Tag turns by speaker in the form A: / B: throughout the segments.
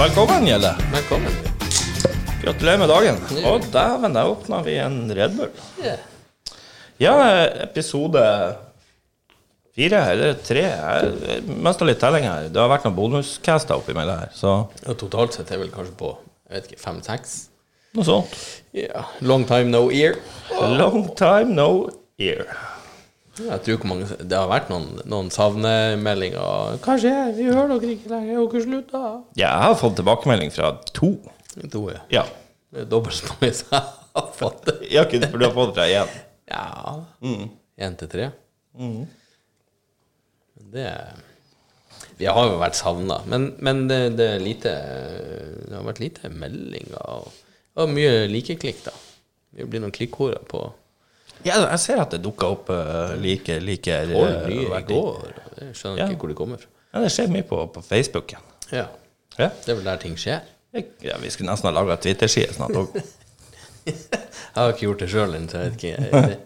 A: Velkommen, Gjelle.
B: Velkommen.
A: Gratulerer med dagen. Å, dæven, der åpna vi en Red Bull.
B: Ja.
A: Ja, episode fire eller tre. Jeg mista litt telling her. Det har vært noen bonuscaster oppimellom her, så
B: Og totalt sett er jeg vel kanskje på jeg vet ikke, fem-seks.
A: noe sånt.
B: Ja. Long time no ear.
A: Long time no ear.
B: Ja, Jeg tror ikke mange Det har vært noen, noen savnemeldinger. 'Hva skjer? Vi hører dere ikke lenger. Har dere slutta?'
A: Ja, jeg har fått tilbakemelding fra to.
B: To, ja.
A: Ja.
B: Det er dobbelt så mange som jeg har fått.
A: Jeg har ikke, for du har fått det fra én.
B: Ja. Én til tre. Mm. Men Det Vi har jo vært savna, men, men det, det er lite Det har vært lite meldinger og, og mye likeklikk, da. Det blir noen klikkhorer på
A: Ja, jeg ser at det dukker opp eh, like, like
B: Oi,
A: eh,
B: mye i
A: verdi.
B: går. Jeg skjønner
A: Ja.
B: ikke hvor det kommer fra.
A: Ja, det skjer mye på, på Facebooken.
B: Ja.
A: Ja.
B: Det er vel der ting skjer.
A: Ja, vi skulle nesten ha laga Twitter-side snart òg.
B: Jeg har ikke gjort det sjøl ennå, så jeg vet ikke. Det,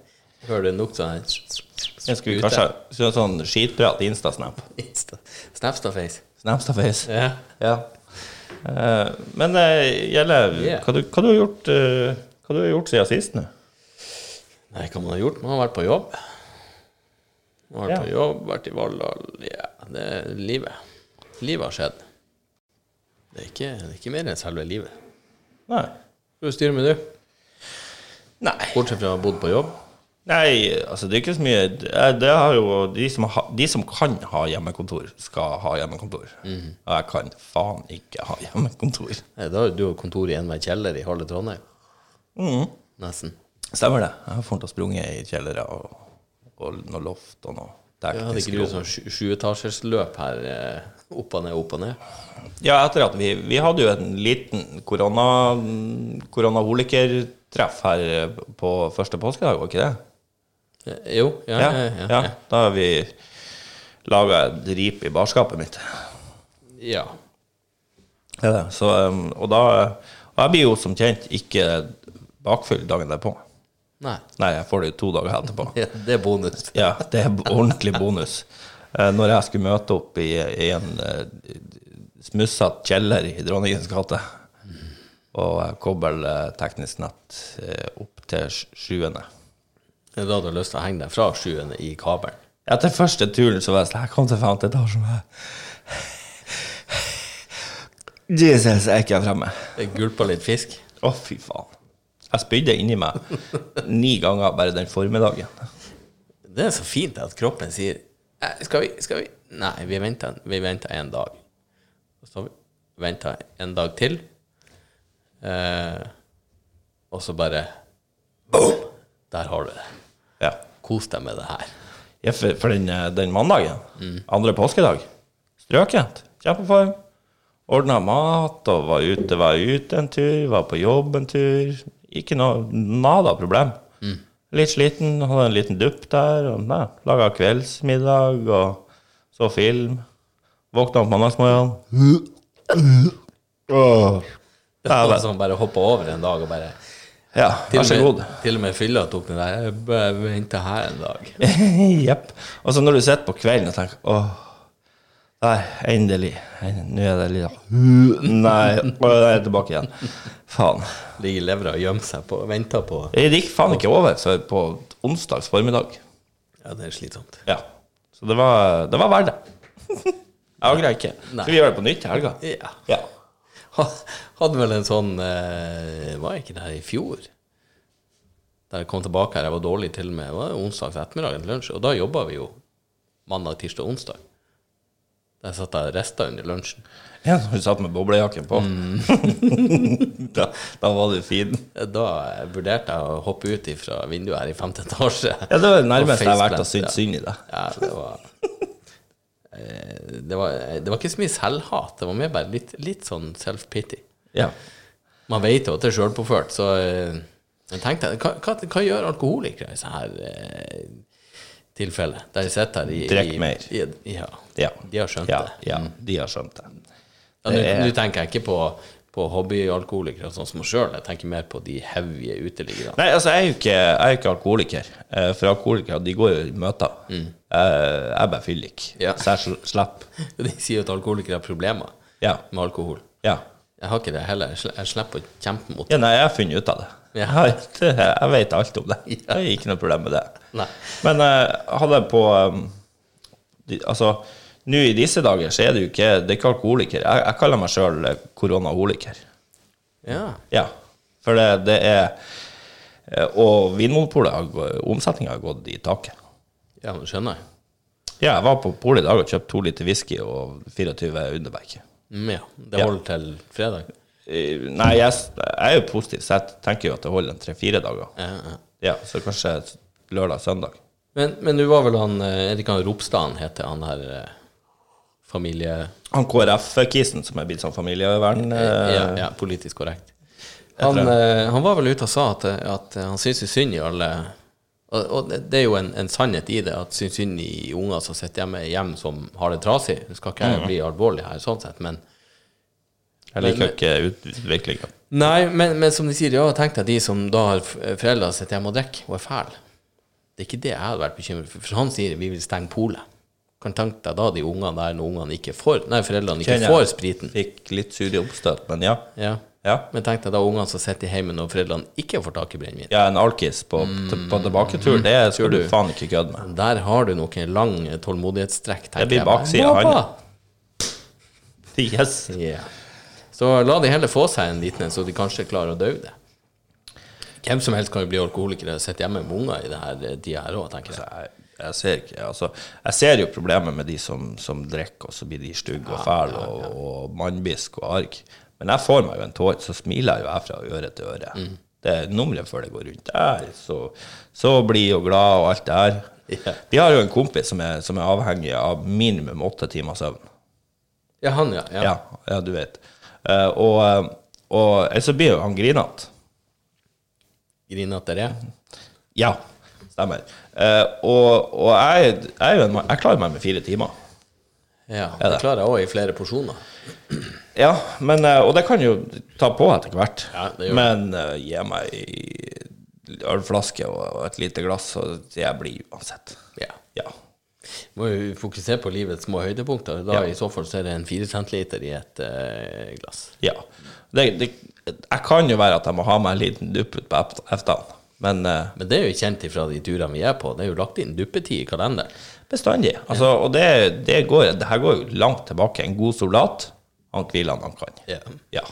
B: hører det nok sånn
A: Jeg skulle
B: Ute.
A: kanskje ha sånn skitprat Instasnap.
B: Insta- Snapstaface.
A: Snapstaface.
B: Ja.
A: Ja. Eh, men eh, Gjelle,
B: Yeah.
A: hva, du, hva du har gjort eh, Hva du har gjort siden sist nå?
B: Nei, hva man har gjort? Man har vært på jobb. Man har vært
A: Ja.
B: på jobb, vært i Valhall. Ja, det er livet. Livet har skjedd. Det er ikke, det er ikke mer enn selve livet.
A: Nei.
B: Hva styrer med du?
A: Nei.
B: Bortsett fra å ha bodd på jobb.
A: Nei, altså det er ikke så mye Jeg- Det har jo De som, ha, de som kan ha hjemmekontor, skal ha hjemmekontor. Og jeg kan faen ikke ha hjemmekontor.
B: Nei, Eh, da har jo du og kontor i enhver kjeller i halve Trondheim.
A: Mm.
B: Nesten.
A: Stemmer det. Jeg har fort sprunget i kjellere og, og noe loft og noe
B: Jeg hadde
A: teknisk
B: ikke du sånn sju- sjuetasjersløp her eh, opp og ned, opp og ned?
A: Ja, etter at vi, vi hadde jo en liten korona koronaholikertreff her eh, på første påskedag, var ikke det?
B: Eh, Jo, ja, ja, ja. ja.
A: Da har vi laga et rip i barskapet mitt.
B: ja.
A: Ja, det. Så, eh, og da Og jeg blir jo som kjent ikke bakfyll dagen derpå.
B: Nei.
A: Nei, jeg får det jo to dager etterpå.
B: Ja, det er bonus.
A: Ja, det er ordentlig bonus. Eh, Når jeg skulle møte opp i, i en eh, smussatt kjeller i Dronningens gate, og jeg kobler eh, teknisk nett eh, opp til sj- sjuende
B: Det er da du har lyst til å henge deg fra sjuende i kabelen.
A: Etter første turen så var jeg sånn Jeg kom til femte etasje og jeg Jesus, jeg er ikke fremme.
B: Det gulper litt fisk.
A: Å, fy faen. Jeg spydde inni meg ni ganger bare den formiddagen.
B: Det er så fint at kroppen sier «Eh, Skal vi, skal vi? Nei, vi venter, vi venter en dag. Og så venter jeg en dag til. Eh, og så bare Boom! Der har du det.
A: Ja.
B: Kos deg med det her.
A: Ja, for, for den, eh, den mandagen, andre påskedag, strøkent, kjempeform. Ordna mat og var ute, var ute en tur, var på jobb en tur. Ikke noe nada problem. Litt sliten, hadde en liten dupp der. og nei, Laga kveldsmiddag og så film. Våkna opp mandagsmorgenen. Åh.
B: Det er noen som bare hopper over en dag og bare
A: Ja, vær så
B: til og
A: god.
B: med, til og med fylla tok den der. «Jeg bare venter her en dag.
A: Jepp. Og så når du sitter på kvelden og tenker åh, der, endelig. En- Nå er det litt Nei, og da er jeg tilbake igjen. Faen.
B: Ligger levra og gjemmer seg på venter på
A: Det gikk faen ikke over før på onsdags formiddag.
B: Ja, det er slitsomt.
A: Ja. Så det var, det var verdt det. Jeg angrer ikke. Skal vi gjøre det på nytt i helga?
B: Ja.
A: Ja.
B: Ha- Hadde vel en sånn eh, Var jeg ikke der i fjor? Da jeg kom tilbake her, jeg var dårlig til og med. Det var onsdags ettermiddag til lunsj, og da jobba vi jo mandag, tirsdag og onsdag. Der satt jeg og resta under lunsjen.
A: ja når du satt med boblejakken på.
B: Mm.
A: da, da var du fin.
B: Da eh, vurderte jeg å hoppe ut fra vinduet her i femte etasje.
A: Ja, det var det nærmeste jeg har vært
B: faceplant,
A: og synd synd i deg.
B: Ja, det var eh, det var, det var ikke så mye selvhat, det var mer bare litt, litt sånn self-pity.
A: Ja.
B: Man vet jo at det er sjølpåført, så eh, jeg tenkte hva, hva, hva gjør alkoholikere i sånne her eh, tilfeller? Der de sitter her i
A: Drekk
B: i-
A: mer.
B: I, ja.
A: ja.
B: De har skjønt
A: ja,
B: det.
A: ja, de har skjønt det.
B: Ja, Nå nå tenker jeg ikke på, på hobbyalkoholikere sånn som oss sjøl, jeg tenker mer på de heavige uteliggerne.
A: Nei, altså, jeg er jo ikke, jeg er jo ikke alkoholiker. Eh, For alkoholikere, de går jo i møter. Eh, Jeg er bare fyllik.
B: Mm. Ja.
A: Så jeg sl- slipper.
B: De sier jo at alkoholikere har problemer
A: Ja.
B: med alkohol.
A: ja.
B: Jeg har ikke det heller. Jeg sl- Jeg slipper å kjempe mot det.
A: Ja, nei, jeg har funnet ut av det.
B: Ja.
A: Jeg, det- jeg vet alt om det.
B: Ja.
A: Det er ikke noe problem med det.
B: Nei.
A: Men eh, hadde jeg på eh, de, Altså, nå i disse dager så er det jo ikke Det er ikke alkoholiker. Jeg, jeg kaller meg sjøl koronaholiker.
B: Ja.
A: Ja. For det, det er eh, Og Vinmonopolet har gå- omsetningen har gått i taket.
B: ja, men skjønner jeg.
A: Ja, jeg var på polet i dag og kjøpte to liter whisky og 24 Underberg.
B: Mm, ja. Det
A: Ja.
B: holder til fredag.
A: Eh, Nei, jeg, s- jeg er jo positiv, så jeg tenker jo at det holder en tre-fire dager.
B: Ja, ja.
A: Ja, Så kanskje lørdag-søndag.
B: Men, men du var vel han eh, Erik han Ropstad heter han her eh, familie...
A: Han KrF-kisen som er blitt sånn familievern eh,
B: Ja, ja, politisk korrekt. Han, eh, han var vel ute og sa at, eh, at han syns jo synd i alle Og, og det det er jo en, en sannhet i det, at syns synd i unger som sitter hjemme i hjem som har det trasig. Nå skal ikke jeg bli alvorlig her, sånn sett, men
A: Jeg liker jo ikke utviklinga.
B: Nei, men, men som de sier, ja, tenk deg de som da har f- foreldre som sitter hjemme og drikker og er fæle. Det er ikke det jeg hadde vært bekymret for. For han sier vi vil stenge polet. Kan tenke deg da de ungene der når ungene ikke får Nei, foreldrene ikke
A: Kjenner jeg.
B: får spriten.
A: Fikk litt sur i oppstøt, men ja.
B: Ja.
A: Ja,
B: Men tenk deg da ungene som sitter i heimen når foreldrene ikke får tak i brennevin.
A: ja en alkis på, på tilbaketur, det skal Mm, du faen ikke kødde med.
B: Der har du nok en lang tålmodighetstrekk, tenker jeg.
A: blir
B: meg.
A: baksida av
B: Baba!
A: Yes.
B: Ja. Så la de heller få seg en liten en, så de kanskje klarer å dø det. Hvem som helst kan jo bli alkoholiker og sitte hjemme med unger i det her eh, tida her òg, tenker jeg.
A: Jeg, jeg ser ikke Altså, jeg ser jo problemet med de som, som drikker, og så blir de stygge og fæle og, og mannbisk og arg. Men jeg får meg jo en tåre, så smiler jeg jo jeg fra øre til øre.
B: Mm.
A: Det er nummeret før det går rundt. Der, så, så blid og glad og alt det her.
B: Ja.
A: Vi har jo en kompis som er, som er avhengig av minimum åtte timer søvn.
B: Ja, han, ja. ja.
A: Ja, ja du vet. Eh, og, og ellers så blir jo han grinete.
B: Griner at dere er.
A: Ja, stemmer. Eh, og og jeg, jeg, er jo en, mann- jeg klarer meg med fire timer.
B: Ja, det
A: det.
B: klarer jeg òg i flere porsjoner.
A: Ja, men, eh, og det kan jo ta på etter hvert.
B: Ja, det gjør det.
A: men eh, gi meg ei ølflaske og et lite glass, så jeg blir uansett.
B: Ja.
A: Ja.
B: Må jo fokusere på livets små høydepunkter. Da i så fall så er det en fire centiliter i et eh, glass.
A: ja. Det, det, jeg kan jo være at jeg må ha meg en liten dupp ut på eft- eftan, men eh,
B: Men det er jo kjent ifra de turene vi er på. Det er jo lagt inn duppetid i kalenderen.
A: bestandig. Altså, og det, det, går, det her går jo langt tilbake. En god soldat, han hviler når han kan.
B: Ja.
A: Ja.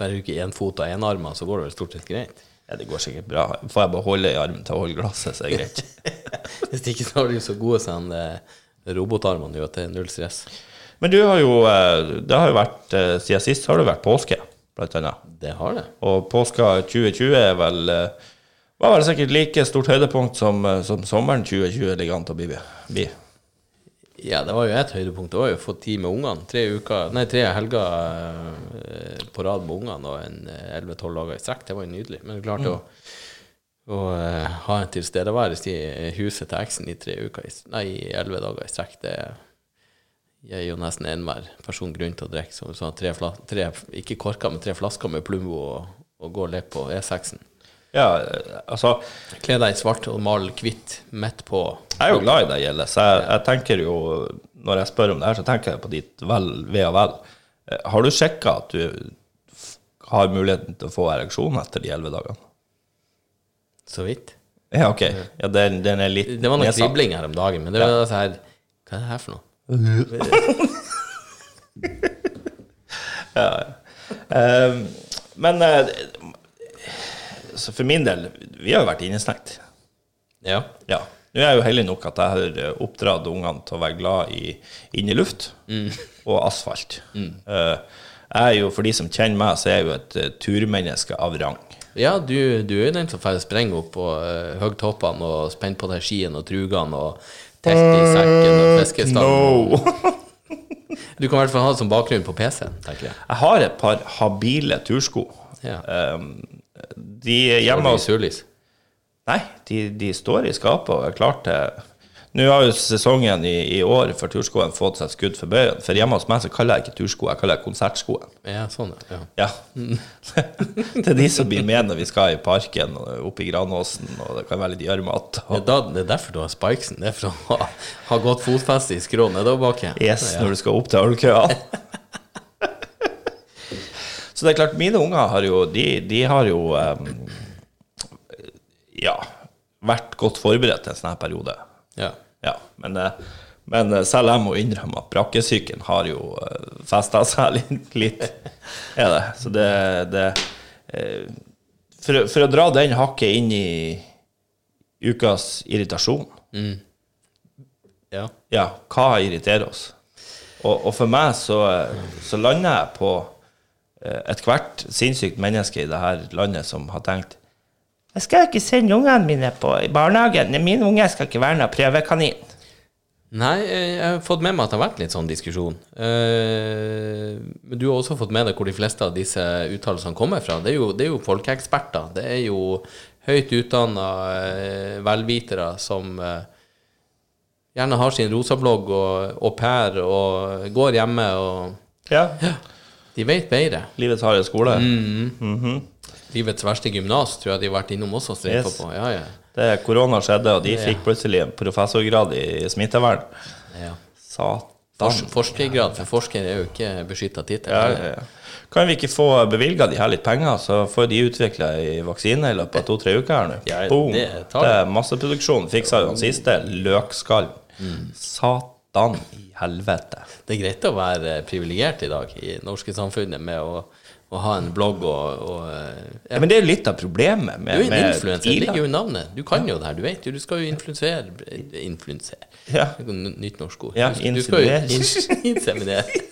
B: Bare bruke én fot og én arm, så går det vel stort sett greit.
A: ja, det går sikkert bra. Får jeg beholde i armen til å holde glasset, så er det greit.
B: Hvis ikke så har de jo så gode som eh, robotarmene gjør til null stress.
A: Men du har jo eh, Det har jo vært eh, Siden sist har det vært påske, blant annet.
B: Det har det.
A: Og påska 2020 er vel eh, var vel sikkert like stort høydepunkt som, eh, som sommeren 2020 ligger an til å bli. bli.
B: Ja, det var jo et høydepunkt. Det var jo å få tid med ungene. Tre, uker, nei, tre helger eh, på rad med ungene og en eh, elleve-tolv dager i strekk. Det var jo nydelig. Men det er klart å, å eh, ha en tilstedeværelse i eh, huset til eksen i tre uker, i s- nei, i elleve dager i strekk, det gir jo nesten enhver person grunn til å drikke. Så, så tre fla, tre, ikke korker, men tre flasker med Plumbo og, og gå og leke på E6-en.
A: Ja, eh, altså
B: Kle deg i svart og mal hvitt midt på.
A: Jeg er jo glad i deg, Gjelle, så jeg, jeg tenker jo Når jeg spør om det her, så tenker jeg på ditt vel, ve og vel. Eh, Har du sjekka at du f- har muligheten til å få ereksjon etter de elleve dagene?
B: Så vidt.
A: Ja, OK. Ja, den, den er litt
B: Det var noe
A: nedsatt.
B: kribling her om dagen, men det var så her Hva er det her for noe?
A: Eh, Men eh, så for min del, vi har jo vært innestengt.
B: Ja.
A: Ja. Nå er jeg jo heldig nok at jeg har eh, oppdratt ungene til å være glad i inneluft og asfalt. Eh, jeg er jo, For de som kjenner meg, så er jeg jo et eh, turmenneske av rang.
B: Ja, du, du er jo den som får sprenge opp på uh, høgtoppene og spenne på deg skien og trugene og telt i sekken og fiskestangen. Du kan i hvert fall ha det som bakgrunn på PC-en, tenker jeg.
A: Jeg har et par habile tursko.
B: Ja. altså-
A: De er hjemme
B: Og
A: hos
B: du surlis.
A: Nei, de, de står i skapet og er klare til Nå har jo sesongen i, i år for turskoen fått seg et skudd for bøyen. For hjemme hos meg så kaller jeg ikke tursko, jeg kaller det konsertskoen.
B: Ja, sånn, ja.
A: Ja. det er de som blir med når vi skal i parken og oppe i Granåsen, og det kan være litt gjørmete.
B: Det
A: og
B: er, da, det er derfor du har spikesen. Det er for å ha, ha godt fotfeste i skrå nedoverbakke.
A: Yes, når du skal opp til ølkøene. Så det er klart, mine unger har jo De, de har jo eh, ja, vært godt forberedt til en sånn her periode.
B: Ja.
A: Ja, men, eh, men eh, selv jeg må innrømme at brakkesyken har jo festa seg litt. litt er det. Så det, det eh, for, å- for å dra den hakket inn i ukas irritasjon
B: ja.
A: Ja, hva irriterer oss? Og, og for meg så, eh, så lander jeg på eh, ethvert sinnssykt menneske i det her landet som har tenkt Jeg skal ikke sende ungene mine på, i barnehagen. Mine unger skal ikke være noe prøvekanin.
B: Nei, eh, jeg har fått med meg at det har vært litt sånn diskusjon. Eh, Men du har også fått med deg hvor de fleste av disse uttalelsene kommer fra. Det er jo, det er jo folkeeksperter. Det er jo høyt utdanna velvitere som eh, gjerne har sin rosablogg og au pair og går hjemme og
A: Ja,
B: De vet bedre.
A: Livets harde skole.
B: Mm. Livets verste gymnas tror jeg de har vært innom også og streka
A: Yes.
B: på. Ja, ja.
A: Det Korona skjedde, og de fikk plutselig en professorgrad i smittevern.
B: ja. Fors,
A: Satan.
B: forskergrad for forsker er jo ikke beskytta tittel.
A: Ja, ja, ja. Kan vi ikke få bevilga de her litt penger, så får de utvikla ei vaksine i løpet av to-tre uker her nå?
B: Ja,
A: Boom!
B: det
A: Det
B: tar
A: er masseproduksjon. Fiksa jo den siste. Løkskallen.
B: Mm.
A: Satan i helvete.
B: Det er greit å være privilegert i dag i det norske samfunnet med å, å ha en blogg og, og eh, ja.
A: Ja, men det er jo litt av problemet med
B: Du er en
A: med
B: influenser, det
A: Ila.
B: ligger jo i navnet. Du kan jo det her, du vet jo. Du skal jo influensere Influensere
A: Ja.
B: Det er et Nytt norsk ord.
A: Ja,
B: du, skal- du skal jo
A: inseminere.
B: in- inseminere.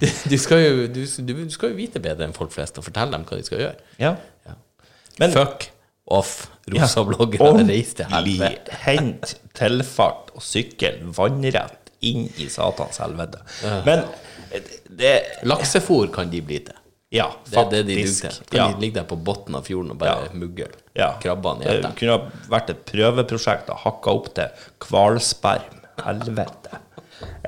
B: Du, du, skal jo, du, du, du skal jo vite bedre enn folk flest og fortelle dem hva de skal gjøre.
A: Ja.
B: Ja.
A: Men-
B: Fuck off, rosa bloggere, reis til
A: Ordentlig
B: helvete.
A: hent tilfart og sykkel vannrett inn i satans helvete. Men eh, det
B: Laksefôr kan de bli til.
A: Ja,
B: Det er det de duger
A: faktisk.
B: til. Kan
A: Ja.
B: de ligge der på bunnen av fjorden og bare mugle
A: Ja.
B: krabbene i
A: Det
B: etter?
A: kunne ha vært et prøveprosjekt og hakka opp til hvalsperm. Helvete.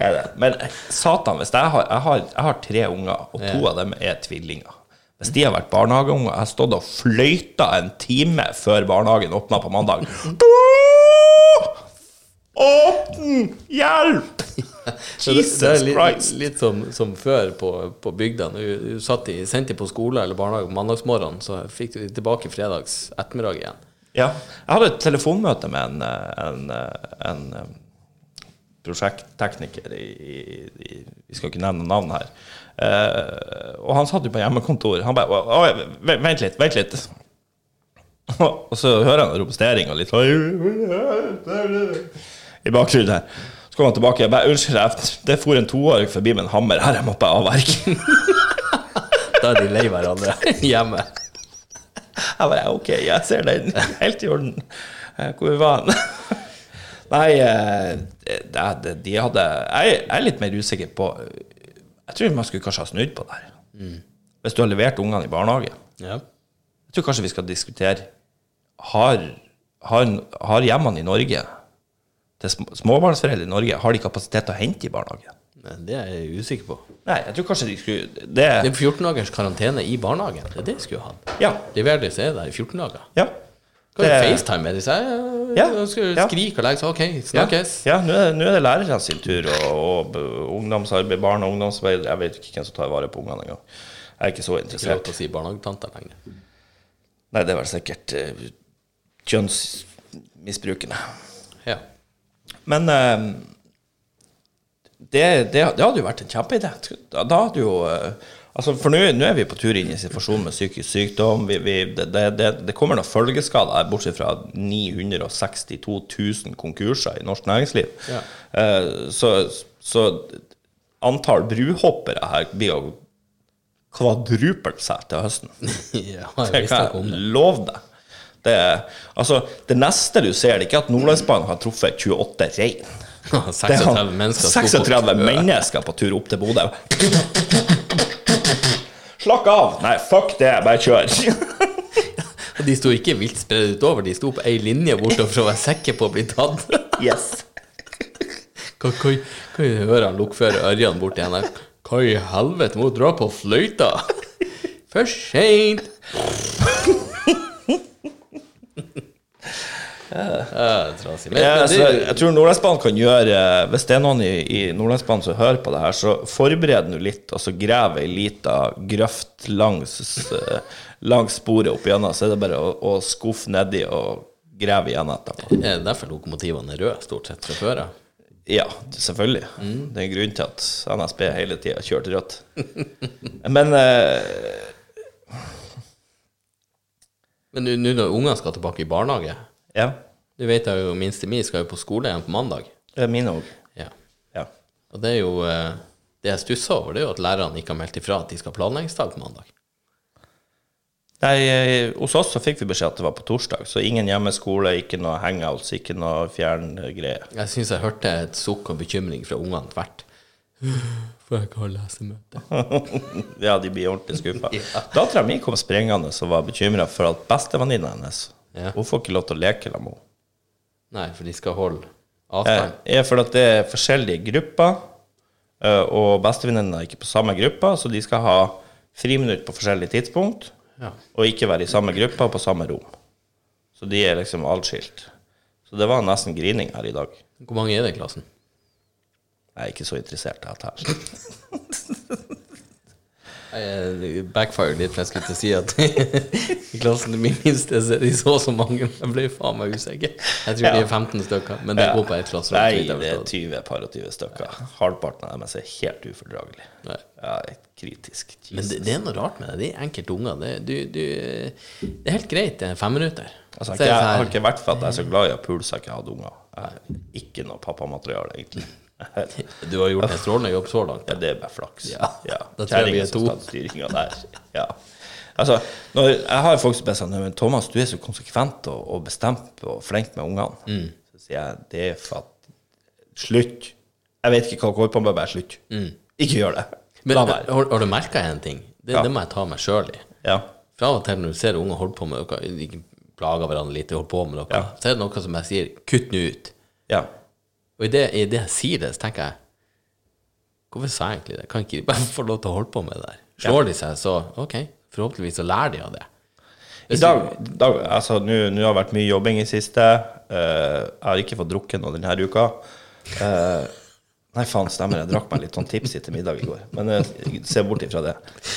A: Er det. Men eh, satan, hvis jeg har, jeg, har, jeg har tre unger, og to av dem er tvillinger. Hvis de har vært barnehageunger Jeg har stått og fløyta en time før barnehagen åpna på mandag. Åpne! Hjelp!
B: Så det-
A: Jesus
B: det er litt,
A: Christ.
B: Litt som, som før på, på bygda. Når du- du satt i, sendte på skole eller barnehage på mandagsmorgen, så fikk du de tilbake fredags ettermiddag igjen.
A: Ja. Jeg hadde et telefonmøte med en, eh, en, eh, en eh, prosjekttekniker i, i, i Vi skal ikke nevne navn her. Eh, og han satt jo på hjemmekontor. Han bare «Å, å, v- Vent litt, vent litt. Og så hører han protestering og litt sånn I bakgrunnen her. Så kommer han tilbake. Jeg bare, Unnskyld, jeg- det for en toåring forbi med en hammer. Her, jeg må på avverge.
B: Da er de lei hverandre hjemme.
A: Jeg bare OK, jeg ser den. Helt i orden. Eh, Hvor var han? Nei, eh, det, det, de hadde jeg, jeg er litt mer usikker på Jeg tror man skulle kanskje ha snudd på det her. Hvis du har levert ungene i barnehage.
B: Ja.
A: Jeg tror kanskje vi skal diskutere Har, har, har hjemmene i Norge til sm- småbarnsforeldre i Norge Har de kapasitet til å hente i barnehage?
B: Men Det er jeg usikker på.
A: Nei, jeg tror kanskje de skulle Det
B: Det er 14 dagers karantene i barnehagen. Det er det vi skulle hatt.
A: Ja.
B: Leverlig så er det i 14 dager.
A: ja.
B: Kan jo
A: Det-
B: FaceTime med disse. Jeg,
A: Ja,
B: jeg skal
A: ja.
B: skrike og legge seg. OK,
A: Ja,
B: snakkes.
A: ja nå, er, nå er det lærerne sin tur, og, og b- ungdomsarbeid, barn og ungdomsarbeid Jeg vet ikke hvem som tar vare på ungene engang. Jeg er ikke så
B: Ikke lov
A: interessert.
B: til å si barnehagetanter lenger.
A: Nei, det er vel sikkert uh, kjønnsmisbrukende.
B: Ja.
A: Men eh, det, det, det hadde jo vært en kjempeidé. Da, da hadde jo eh, Altså, for nå nå er vi på tur inn i situasjonen med psykisk sykdom. Vi, vi, det, det, det, det kommer noen følgeskader, her, bortsett fra 962 000 konkurser i norsk næringsliv.
B: Ja.
A: Eh, så, så antall bruhoppere her blir jo kvadrupelt seg til høsten.
B: ja jeg
A: Det
B: visste
A: kan
B: ikke om det.
A: jeg love deg. Det, er- altså, det neste du ser, det er ikke at Nordlandsbanen har truffet 28 rein. Det er
B: 36
A: han,
B: mennesker sto på
A: 36
B: kø.
A: mennesker på tur opp til Bodø. Slakk av! Nei, fuck det, bare kjør.
B: Og De sto ikke vilt spredt utover, de sto på ei linje bortover for å være sikker på å bli tatt.
A: Yes.
B: Hva hva- hva jeg hører han lokfører Ørjan borti henne? Hva i helvete, må du dra på fløyta? For seint! Ja, trasig. Men,
A: Ja,
B: men
A: altså, jeg
B: det,
A: tror Nordlandsbanen kan gjøre eh, Hvis det er noen i, i Nordlandsbanen som hører på det her, så forbered nå litt, og så grav ei lita grøft langs, eh, langs sporet opp igjennom. Så er det bare å, å skuffe nedi og grave igjen etterpå.
B: det er derfor lokomotivene er røde, stort sett, fra før av.
A: Ja, selvfølgelig.
B: Mm.
A: Det er en grunn til at NSB hele tida kjørte rødt. Men eh,
B: Men nå- nå når ungene skal tilbake i barnehage
A: ja,
B: Du vet jeg jo minste mi skal jo på skole igjen på mandag.
A: det er mine òg.
B: Ja.
A: Ja.
B: Og det er jo eh, Det jeg stusser over, det er jo at lærerne ikke har meldt ifra at de skal ha planleggingsdag på mandag.
A: Nei, eh, hos oss så fikk vi beskjed at det var på torsdag, så ingen hjemmeskole, ikke noe hangouts, ikke noe fjerngreier.
B: Jeg syns jeg hørte et sukk og bekymring fra ungene tvert. For jeg ikke har lesemøte.
A: Ja, de blir ordentlig skuffa. Dattera mi kom sprengende og var bekymra for at bestevenninna hennes
B: Ja.
A: Hun får ikke lov til å leke sammen med henne.
B: Nei, for de skal holde
A: Eh,
B: avstand.
A: er fordi at det er forskjellige grupper, eh, og bestevenninna er ikke på samme gruppa, så de skal ha friminutt på forskjellige tidspunkt,
B: Ja.
A: og ikke være i samme gruppa og på samme rom. Så de er liksom atskilt. Så det var nesten grining her i dag.
B: Hvor mange er det i klassen?
A: Jeg er ikke så interessert i dette her.
B: Jeg eh, backfired litt, for jeg skulle til å si at i klassen til min minste så er de så og så mange. men Jeg ble faen meg usikker. Jeg tror de er 15 stykker, men det går på ett klasserom. så
A: Nei,
B: vidt jeg
A: det er
B: forstår.
A: 20-22 stykker. Halvparten av dem er helt ufordragelig.
B: Nei.
A: Ja, kritisk.
B: Men det, det er noe rart med det. De enkelte unger det, du, du, det er helt greit, det er fem minutter.
A: Altså,
B: Så
A: jeg,
B: er det
A: jeg
B: sånn her-
A: har ikke vært for at jeg er så glad i å pulse at jeg ikke hadde unger. Jeg har Ikke noe pappamateriale, egentlig.
B: Du har gjort en strålende jobb så langt.
A: Ja, det er bare flaks.
B: Ja. Da tror jeg
A: Kjerringa
B: vi er
A: som
B: to.
A: satt styringa der. Ja. Altså, når, jeg har jo folk som bare sier men Thomas, du er så konsekvent og, og bestemt og flink med ungene.
B: Mm.
A: Så sier jeg det er for at Slutt. Jeg vet ikke hva dere holder på med, bare slutt. Ikke gjør det.
B: Mm. Men
A: La
B: har,
A: være.
B: har du merka en ting? Det,
A: Ja.
B: det må jeg ta meg sjøl i.
A: Ja.
B: For av og til når du ser unger holde på med noe, de plager hverandre litt, de holder på med noe,
A: Ja.
B: så er det noe som jeg sier 'kutt nå ut'.
A: ja.
B: Og i det, i det jeg sier det, så tenker jeg Hvorfor sa jeg egentlig det? Kan ikke de bare få lov til å holde på med det der? Slår de seg, så ok, forhåpentligvis så lærer de av det.
A: I dag, dag altså nå nå har det vært mye jobbing i siste. Eh, jeg har ikke fått drukket noe denne uka. Eh, nei, faen, stemmer. Jeg drakk meg litt sånn tipsy til middag i går. Men eh, se bort ifra det.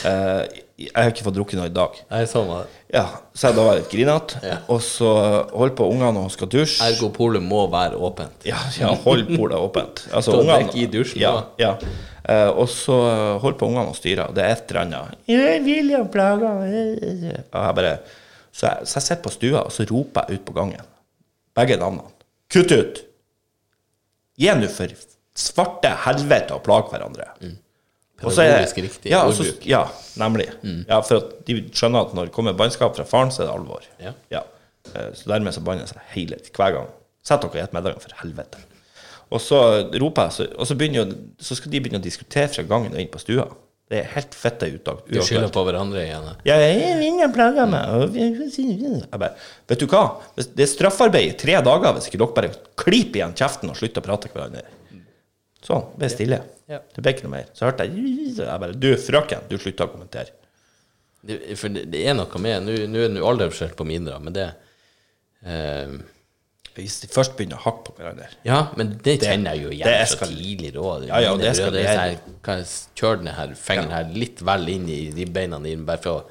A: Eh, jeg har ikke fått drukket noe i dag.
B: Jeg så meg
A: Ja, Så jeg da var litt grinete. Og så holder på ungene og skal dusje.
B: Ergopolet må være åpent.
A: Ja, ja hold bordet åpent. Altså,
B: Ta
A: ungene-
B: dekk i dusjen,
A: Ja, ja. Eh, og så holder på ungene og styrer, og det er et eller annet «Jeg vil jo plage han». Og jeg bare, så, jeg, så jeg sitter på stua, og så roper jeg ut på gangen. Begge navnene. Kutt ut! Gi nå for svarte helvete å plage hverandre. Og så er-
B: Mm. Pedagogisk riktig
A: Ja, og så-
B: ordbruk.
A: ja, nemlig.
B: Mm.
A: Ja, for at de skjønner at når det kommer bannskap fra faren, så er det alvor.
B: Ja.
A: Eh, Så dermed så banner jeg seg hele hver gang. Sett dere i et medlem, for helvete. Og så roper jeg, så, og så, begynner jo, så skal de begynne å diskutere fra gangen og inn på stua. Det er helt fette utakt.
B: Du skylder på hverandre igjen.
A: Ja, jeg vil ikke plage meg. og jeg vil si- Jeg bare, vet du hva? Hvis- Det er straffarbeid i tre dager hvis ikke dere bare kliper igjen kjeften og slutter å prate til hverandre. Sånn. Ble stille.
B: Ja.
A: Det ble ikke noe mer. Så hørte jeg så Jeg bare Du, frøken, du slutter å kommentere.
B: Det, for det, det er noe med Nå nå er det jo aldersforskjell på mindre, men det eh,
A: Hvis de først begynner å hakke på hverandre
B: Ja, men det kjenner jeg jo igjen
A: det
B: fra
A: eskalerer.
B: tidligere òg.
A: Ja, ja, det eskalerer.
B: sånn Kjør den her fingeren her litt vel inn i ribbeina dine, bare for å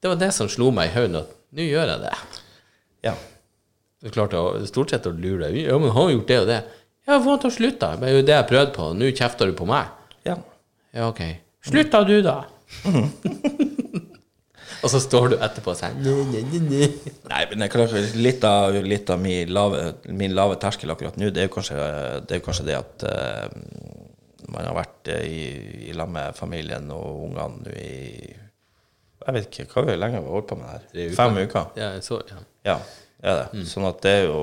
B: Det var det som slo meg i hodet, at nå gjør jeg det.
A: Ja.
B: Du klarte å, stort sett å lure deg. Ja, men han har gjort det og det. Ja, hvorfor har han slutta? Det er jo det jeg prøvde på. Nå kjefter du på meg.
A: ja.
B: Ja, ok. Slutta du, da?
A: Mhm.
B: og så står du etterpå og sier «Nei, nei, nei, nei».
A: Nei, men det er klart, litt av, litt av min, lave, min lave terskel akkurat nå, det er jo kanskje det, er jo kanskje det at eh, man har vært eh, i, i lag med familien og ungene nå i Jeg vet ikke hva vi hvor lenge vi har holdt på med det her.
B: Tre uker. Mm.
A: Fem uker.
B: Ja, så, ja.
A: Ja, det er det. Sånn at det er jo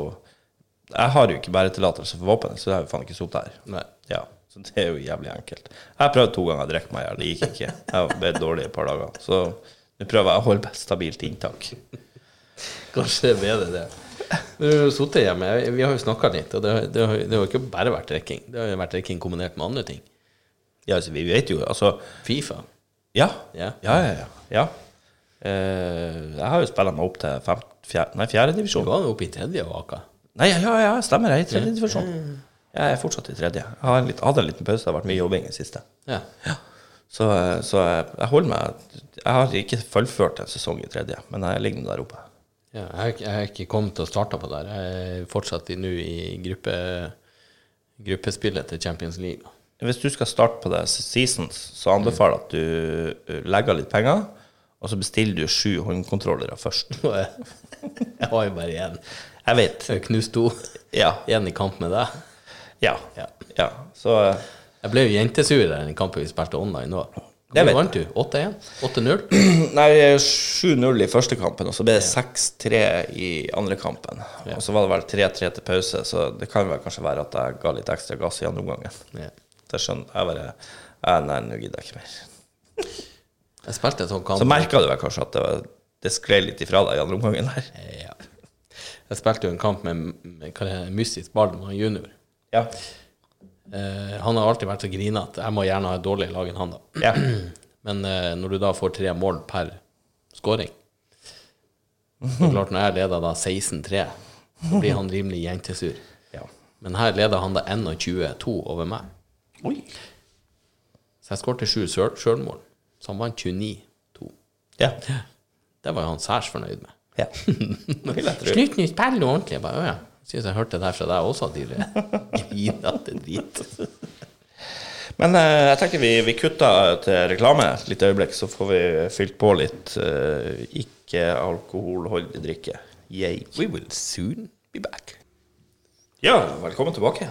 A: Jeg har jo ikke bæretillatelse for våpen, så jeg har jo faen ikke sittet her.
B: Nei.
A: Ja, så det er jo jævlig enkelt. Jeg har prøvd to ganger å drikke meg i hjel. Det gikk ikke. Jeg ble dårlig et par dager. Så nå prøver jeg å holde et stabilt inntak.
B: Kanskje det er bedre, det. Men du har jo sittet hjemme. Vi har jo snakka litt, og det, har- det, har, det har jo ikke bare vært drikking. Det har jo vært drikking kombinert med andre ting.
A: Ja, altså, vi vet jo Altså,
B: Fifa.
A: ja.
B: Ja.
A: Ja, ja, ja. ja. Eh, jeg har jo spilla meg opp til fem, fjerde, nei,
B: Du
A: fjerdedivisjon.
B: var jo oppe i tredje og vaka.
A: Nei, ja, ja, ja, stemmer. Jeg er i tredje divisjon. Jeg er fortsatt i tredje. Jeg har en litt, hadde en liten pause. Det har vært mye jobbing i det siste.
B: Ja.
A: Så, eh, så jeg, jeg holder meg Jeg har ikke fullført en sesong i tredje, men jeg ligger nå der oppe.
B: Ja, jeg, har ikke- jeg har ikke kommet og starta på det. her. Jeg er fortsatt i- nå i gruppe, gruppespillet til Champions League.
A: Hvis du skal starte på det seasons, så anbefaler jeg at du eh, legger av litt penger, og så bestiller du sju håndkontrollere først.
B: Nå er- Jeg har jo bare én.
A: Jeg vet.
B: Jeg har knust to.
A: Ja.
B: Én i kamp med deg.
A: Ja.
B: Ja.
A: ja. Så eh,
B: Jeg ble jo jentesur i den kampen vi spilte online nå.
A: Jeg
B: Hvor
A: vet
B: vant du? 8-1? 8-0?
A: Nei, 7-0 i første kampen, og så ble det 6-3 i andre kampen. Og så var det vel 3-3 til pause, så det kan vel kanskje være at jeg ga litt ekstra gass i andre omgang.
B: Ja.
A: Det skjønner jeg bare eh, Nei, nå gidder jeg ikke mer.
B: Jeg spilte en sånn kamp
A: Så merka du vel kanskje at det, var- det sklei litt ifra deg i andre omgang der?
B: Eh, Ja. Jeg spilte jo en kamp med, med hva det heter, Mystisk Ballman junior.
A: Ja.
B: Eh, han har alltid vært så grinete. Jeg må gjerne ha et dårligere lag enn han, da.
A: ja.
B: Men eh, når du da får tre mål per scoring Så klart, når jeg leder da 16-3, så blir han rimelig jentesur.
A: ja.
B: Men her leder han da 21-2 over meg.
A: Oi.
B: Så jeg skårte sju sjøl- sjølmål. Så han vant 29-2.
A: Ja.
B: Det var jo han særs fornøyd med.
A: ja. Det vil jeg tro.
B: Slutt nå, spill nå ordentlig. Jeg bare, «Å ja. Syns jeg hørte det her fra deg også, tidligere. Grinete drit.
A: Men eh, jeg tenker vi, vi kutter eh, til reklame et lite øyeblikk, så får vi fylt på litt eh, ikke-alkoholholdig drikke. Yay.
B: We will soon be back.
A: Ja, velkommen tilbake.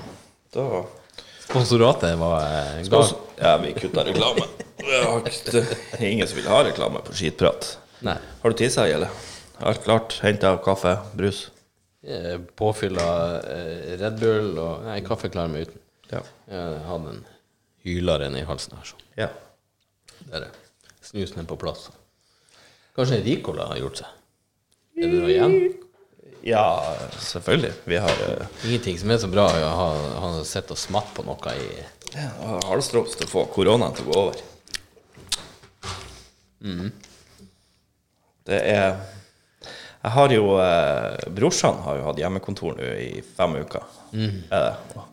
A: Da
B: Sponsoratet var eh, ga,
A: Ja, vi kutta reklame. Ja, Det er ingen som vil ha reklame på skitprat.
B: Nei.
A: Har du tissa i, eller? Alt klart. Henta kaffe, brus.
B: eh, Påfyll av eh, Red Bull og Nei, kaffe klarer meg uten.
A: Ja.
B: Jeg hadde en hyler i halsen her, sånn.
A: ja.
B: Der er snusen er på plass. Kanskje en Ricola har gjort seg? Er det noe igjen?
A: selvfølgelig. Vi har eh,
B: Ingenting som er så bra å ha, ha sett og smatt på noe i
A: har halvstrås til å få koronaen til å gå over. Mhm. Det er Jeg har jo eh, Brorsan har jo hatt hjemmekontor nå i fem uker. Eh, og,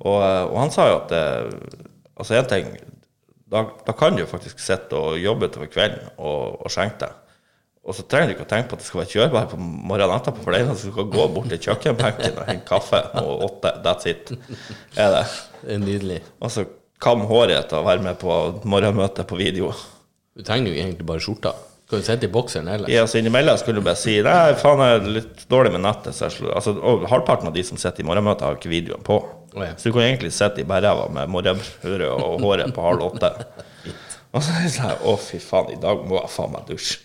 A: og, og han sa jo at eh, Altså, én ting da, da kan du jo faktisk sitte og jobbe utover kvelden og, og skjenke deg. Og så trenger du ikke å tenke på at det skal være kjørbar på morgenen etterpå, for det eneste du skal gå bort til kjøkkenbenken og hente kaffe og åtte. That's it. Er det.
B: Det er nydelig.
A: Og så kam håret til å være med på morgenmøtet på video.
B: Du trenger jo egentlig bare skjorta. Skal du sitte i bokseren ellers?
A: I oss innimellom skulle du bare si Nei, faen, jeg er litt dårlig med nettet. Så jeg slår. Altså, og halvparten av de som sitter i morgenmøtet, har ikke videoen på.
B: Å, ja.
A: Så du kan egentlig sitte i bærræva med morgenbrødet og håret på halv åtte. Og så er jeg sånn Å, fy faen, i dag må jeg faen meg dusje.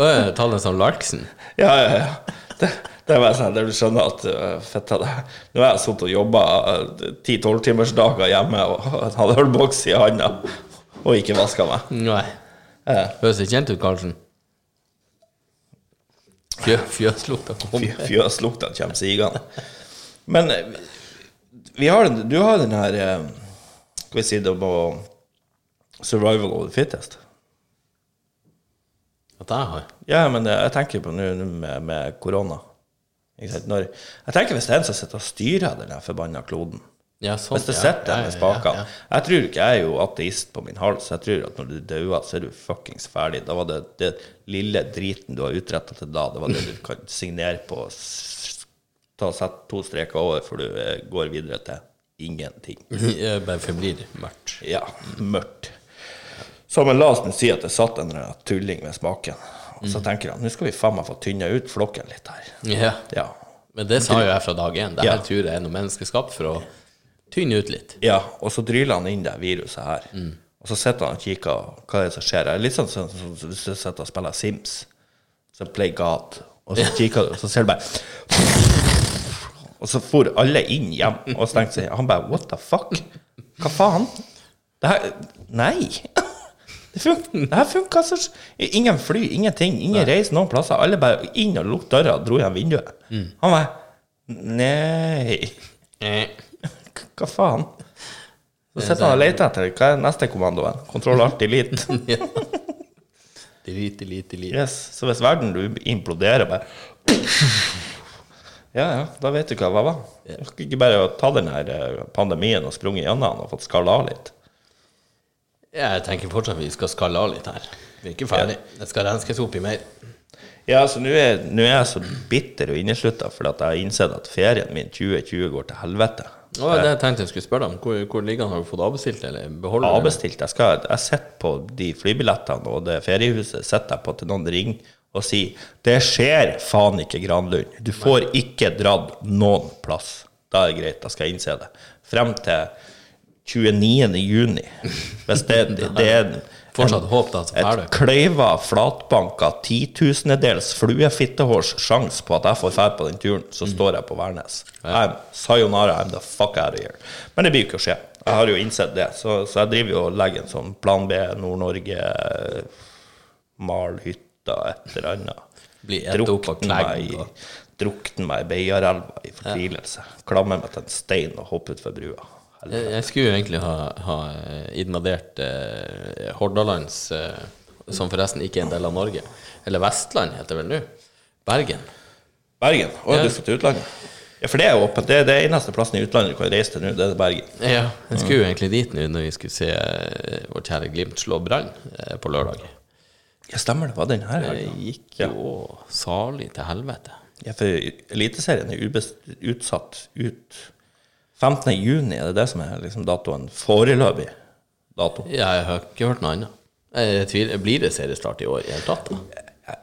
B: Yeah. Ta den som Larksen.
A: Ja, ja, ja. Det, det var sånn der du skjønner at øh, fett av det. Nå har jeg sittet og øh, jobba ti-tolvtimersdager hjemme og hadde ølboks i handa og ikke vaska meg.
B: Nei. Høres det kjent ut, Karlsen? Fjø, Fjøslukta kom.
A: Fy- Fjøslukta kommer sigende. Men eh, vi har, den- du har den her eh, Skal vi si det på survival of the fittest?
B: At jeg har.
A: Ja, men eh, jeg tenker på nå nå med, med korona. Ikke sant? Når, jeg tenker hvis det er en som sitter og styrer den der forbanna kloden
B: Ja, sånn.
A: Hvis det
B: ja,
A: sitter
B: ja,
A: en
B: ja,
A: med spakene
B: ja,
A: Jeg tror ikke jeg er jo ateist på min hals. Jeg tror at når du dauer, så er du fuckings ferdig. Da var det det lille driten du har utretta til da, det var det du kan signere på. S- Ta og Sett to streker over før du eh, går videre til ingenting.
B: ja. Jeg bare forblir mørkt.
A: Ja, mørkt. Så men la oss nå si at det satt en eller annen tulling ved spaken. Og
B: Mm.
A: så tenker han nå skal vi faen meg få tynna ut flokken litt her.
B: Ja.
A: Ja.
B: Men det sa jo jeg fra dag én. Det her
A: Ja.
B: tror jeg er noe menneskeskapt for å tynne ut litt.
A: Ja, og så dryller han inn det viruset her. Og så sitter han og kikker hva er det som skjer. Det er Litt sånn som som- som hvis du sitter og spiller Sims. Så play God. Og så kikker du, og så ser du bare Og så for alle inn hjem og stengte seg. Han bare What the fuck? Hva faen? Det her Nei. Det, fun, det her funka så Ingen fly, ingenting. Ingen reis noen plasser. Alle bare inn og lukket døra og dro igjen vinduet. Han bare Nei.
B: Eh.
A: K- Hva faen? Så sitter han og leter etter Hva er neste kommandoen? Kontroll alt elite.
B: Ja. Drit, drit, drit.
A: Yes. Så hvis verden du imploderer bare Ja, ja, da vet du hva det var. Jeg skulle ikke bare ta den her eh, pandemien og sprunget gjennom den og fått skalla av litt.
B: Jeg tenker fortsatt vi skal skalle av litt her. Vi er ikke ferdig. Det skal renskes opp i mer.
A: Ja, så nå er, nå er jeg så bitter og inneslutta fordi at jeg har innsett at ferien min 2020 går til helvete.
B: Det var det jeg tenkte jeg skulle spørre deg om. Hvor, hvor ligger han? Har du fått avbestilt, eller beholder du den?
A: Avbestilt. Jeg, skal, jeg sitter på de flybillettene og det feriehuset sitter jeg på til noen ringer og sier Det skjer faen ikke, Granlund. Du får ikke dratt noen plass. Da er det greit, da skal jeg innse det. Frem til 29. juni. Hvis det, det, det er en-
B: Fortsatt håp, da, så
A: Et
B: er du.
A: kløyva, flatbanka, titusendedels fluefittehårs sjanse på at jeg får ferd på den turen, så
B: Mm.
A: står jeg på Værnes. I'm sayonara, I'm the fuck out of here. Men det blir jo ikke å skje. Jeg har jo innsett det. Så, så jeg driver jo og legger en sånn plan B, Nord-Norge, mal hytta, et eller annet.
B: Blir ett opp av
A: Drukten meg,
B: knegg.
A: i-
B: og-
A: drukten meg i Beiarelva i fortvilelse. Klammer meg til en stein og hopper utfor brua. Helvete.
B: Jeg, jeg skulle jo egentlig ha, ha eh, invadert eh, Hordalands, eh, som forresten ikke er en del av Norge. Eller Vestland, heter det vel nå. Bergen.
A: Bergen? Å, du skal til utlandet? Ja, for det er åpent. Det er det eneste plassen i utlandet du kan reise til nå, det er Bergen.
B: Ja, jeg skulle jo egentlig dit nå når vi skulle se eh, vår kjære Glimt slå Brann eh, på lørdag.
A: Ja, stemmer det. Var den her?
B: Det
A: helgen?
B: gikk jo salig til helvete.
A: Ja, for Eliteserien er ubest utsatt ut 15. juni, er det det som er liksom datoen? Foreløpig dato.
B: Jeg har ikke hørt noe annet. Jeg tviler, Blir det seriestart i år i det hele tatt? da?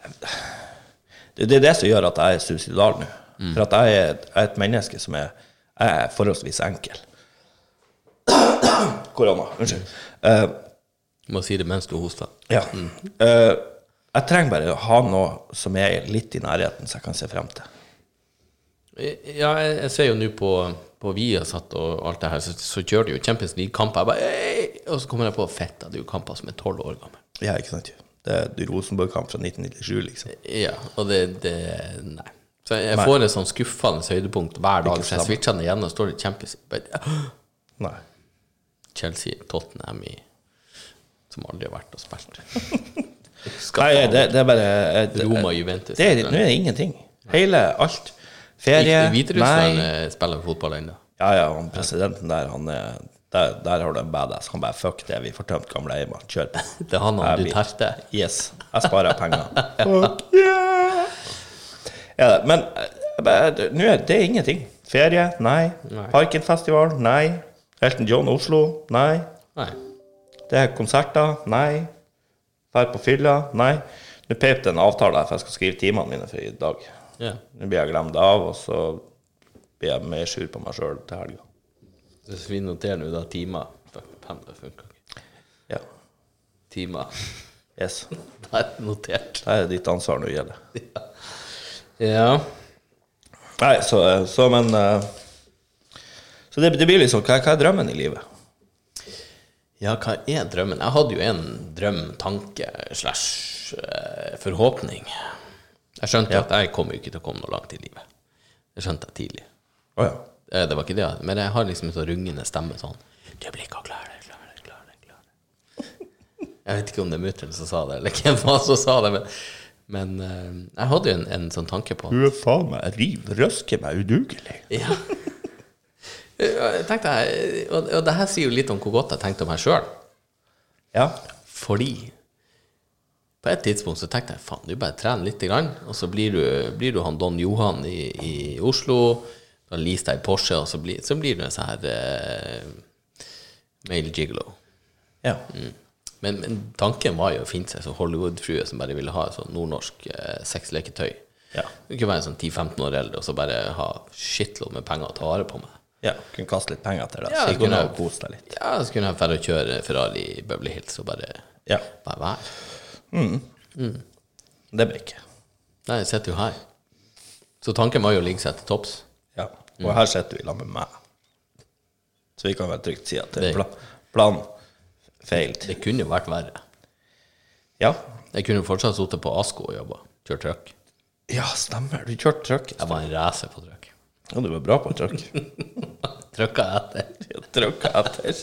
A: Det, det er det som gjør at jeg er suicidal nå. For at jeg er, jeg er et menneske som er, jeg er forholdsvis enkel. Korona. Unnskyld. Eh,
B: Du må si det mens du hoster.
A: Ja. Eh, jeg trenger bare å ha noe som er litt i nærheten, så jeg kan se frem til.
B: Ja, jeg, jeg ser jo nå på, på Viasat og alt det her, så, så kjører de jo Champions League-kamper. Jeg bare, «Ei!» Og så kommer jeg på fett at det er jo kamper som er tolv år gamle.
A: Ja, ikke sant? Det er Rosenborg-kamp fra 1997, liksom.
B: Ja, og det, det Nei. Så jeg får et sånn skuffende høydepunkt hver dag. Så jeg switcher den igjen, og står det Champions League.
A: Nei.
B: Chelsea, Tottenham i Som aldri har vært og spilt.
A: Nei, det, det er bare eh, det,
B: Roma, Juventus
A: det er, Nå er det ingenting. Hele alt. Ferie
B: I- i Hviterussland
A: Nei.
B: eh, spiller fotball ennå.
A: Ja, ja, han presidenten der, han er der, der har du en badass. Han bare fuck det, vi får tømt gamle eimer. Kjør på.
B: Det er han han
A: Jeg
B: du
A: vet.
B: terte.
A: Yes, jeg sparer penger. Fuck yeah! Ja, men eh, bare, det- nå er det er ingenting. Ferie? Nei.
B: Nei.
A: Parkenfestival? Nei. Elton John Oslo? Nei.
B: Nei.
A: Det er konserter? Nei. Fær på fylla? Nei. Nå pep det en avtale her, for jeg skal skrive timene mine for i dag.
B: Ja.
A: Nå blir jeg glemt av, og så blir jeg mer sur på meg sjøl til helga.
B: Hvis vi noterer nå da timer Fuck, Penn, det funker ikke.
A: Ja.
B: Timer.
A: Yes.
B: Det er notert.
A: Det er ditt ansvar nå gjelder.
B: Ja.
A: Nei, så, så men eh, Så det, det blir liksom hva, hva er drømmen i livet?
B: Ja, hva er drømmen? Jeg hadde jo en drøm, tanke, slash eh, forhåpning. Jeg skjønte at jeg kommer jo ikke til å komme noe langt i livet. Det skjønte jeg tidlig.
A: Å ja.
B: Eh, Det var ikke det, men jeg har liksom en sånn rungende stemme sånn Du blir ikke klar, det, klar, det, klar, det, klar. det». Jeg vet ikke om det er mutter'n som sa det, eller hvem var det som sa det, men, men eh, jeg hadde jo en, en sånn tanke på
A: Du er faen meg riv røsker meg udugelig.
B: Ja. Jeg tenkte, jeg- og, og det her sier jo litt om hvor godt jeg tenkte om meg sjøl.
A: Ja.
B: Fordi på et tidspunkt så tenkte jeg faen, du bare trener litt, grann, og så blir du, blir du han Don Johan i, i Oslo. Da leaser deg Porsche, og så blir, så blir du en sånn her eh, male gigolo.
A: ja.
B: Men, men tanken var jo å finne seg som Hollywood-frue som bare ville ha et sånt nordnorsk eh, sexleketøy.
A: Ja.
B: Du kunne være sånn 10-15 år eldre og så bare ha shitload med penger og ta vare på meg.
A: ja. Kunne kaste litt penger til det,
B: Ja,
A: så
B: det
A: du kunne
B: kunne jeg.
A: kose deg litt.
B: Ja, så kunne jeg dra og kjøre Ferrari i Beverly Hills og bare,
A: Ja.
B: bare være.
A: Det blir ikke.
B: Nei, jeg sitter jo her. Så tanken var jo å ligge seg til topps.
A: Ja.
B: Mm.
A: Og her sitter du i lag med meg. Så vi kan vel trygt si at det
B: Det-
A: er pla plan failed.
B: Det kunne jo vært verre.
A: Ja.
B: Jeg kunne jo fortsatt sittet på Asko og jobba. Kjørt truck.
A: Ja, stemmer. Du kjørte truck.
B: Jeg var en racer på truck.
A: Ja, du var bra på truck.
B: Trucka etter.
A: Trucka etter.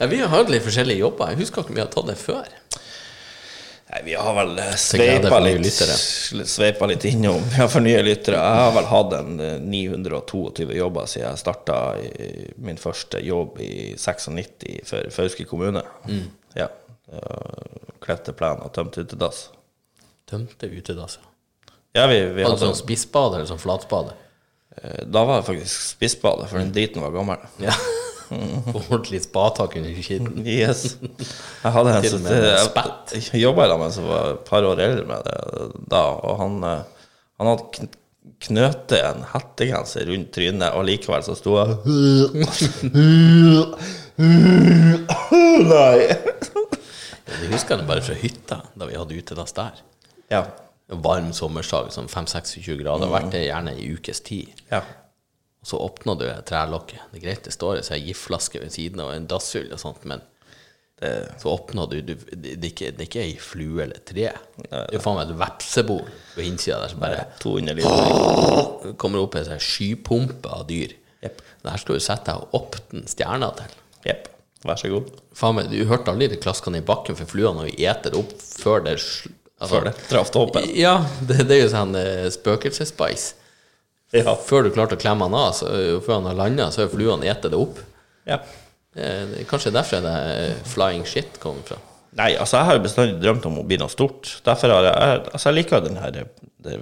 B: Ja, vi har hatt litt forskjellige jobber. Jeg husker ikke om vi har tatt det før.
A: Nei, vi har vel eh,
B: glede
A: sveipa
B: for nye
A: litt,
B: lyttere.
A: sveipa litt innom. Ja, for nye lyttere. Jeg har vel hatt en eh, 922 jobber siden jeg starta min første jobb i 96 for Fauske kommune.
B: Mm.
A: Ja. Eh, Kledde plen og tømte utedass.
B: Tømte utedasset.
A: Ja, vi, vi
B: Var det
A: hadde,
B: sånn spissbade eller sånn flatbade?
A: eh, da var det faktisk spissbade, for den driten var gammel.
B: Ja. Ordentlig spatak under kitten.
A: Yes. Jeg hadde en
B: Til og
A: som
B: med med spett.
A: Jeg jobba sammen med en som var et par år eldre med det da, og han, eh, han hadde kn knøtet en hettegenser rundt trynet, og likevel så sto jeg Nei.
B: Jeg husker det bare fra hytta, da vi hadde utedass der.
A: Ja.
B: En varm sommersdag, sånn 5-26 grader, vært det gjerne i ukes tid.
A: ja.
B: Og så åpna du trælokket. Det er greit det står ei giftflaske ved siden av og en dasshull og sånt, men
A: Det-
B: så åpna du, du det, det er ikke- det er ikke ei flue eller et tre. Det er faen meg et vepsebol på innsida der som bare
A: 200 liter.
B: kommer opp en sånn skypumpe av dyr.
A: Jepp.
B: Der skal du sette deg og åpne stjerna til.
A: Jepp. Vær så god.
B: Faen meg, du hørte aldri det klaskene i bakken, for fluene har jo eter opp før det sl- altså-
A: Før det traff toppen.
B: Ja, det, det er jo sånn eh, spøkelsesspice.
A: Ja.
B: Før du klarte å klemme han av, så, før han har landa, så har fluene etet det opp.
A: ja.
B: Eh, det er Kanskje derfor det eh, flying shit kommer fra.
A: Nei, altså jeg har jo bestandig drømt om å bli noe stort. Derfor har jeg, jeg Altså jeg liker den her det,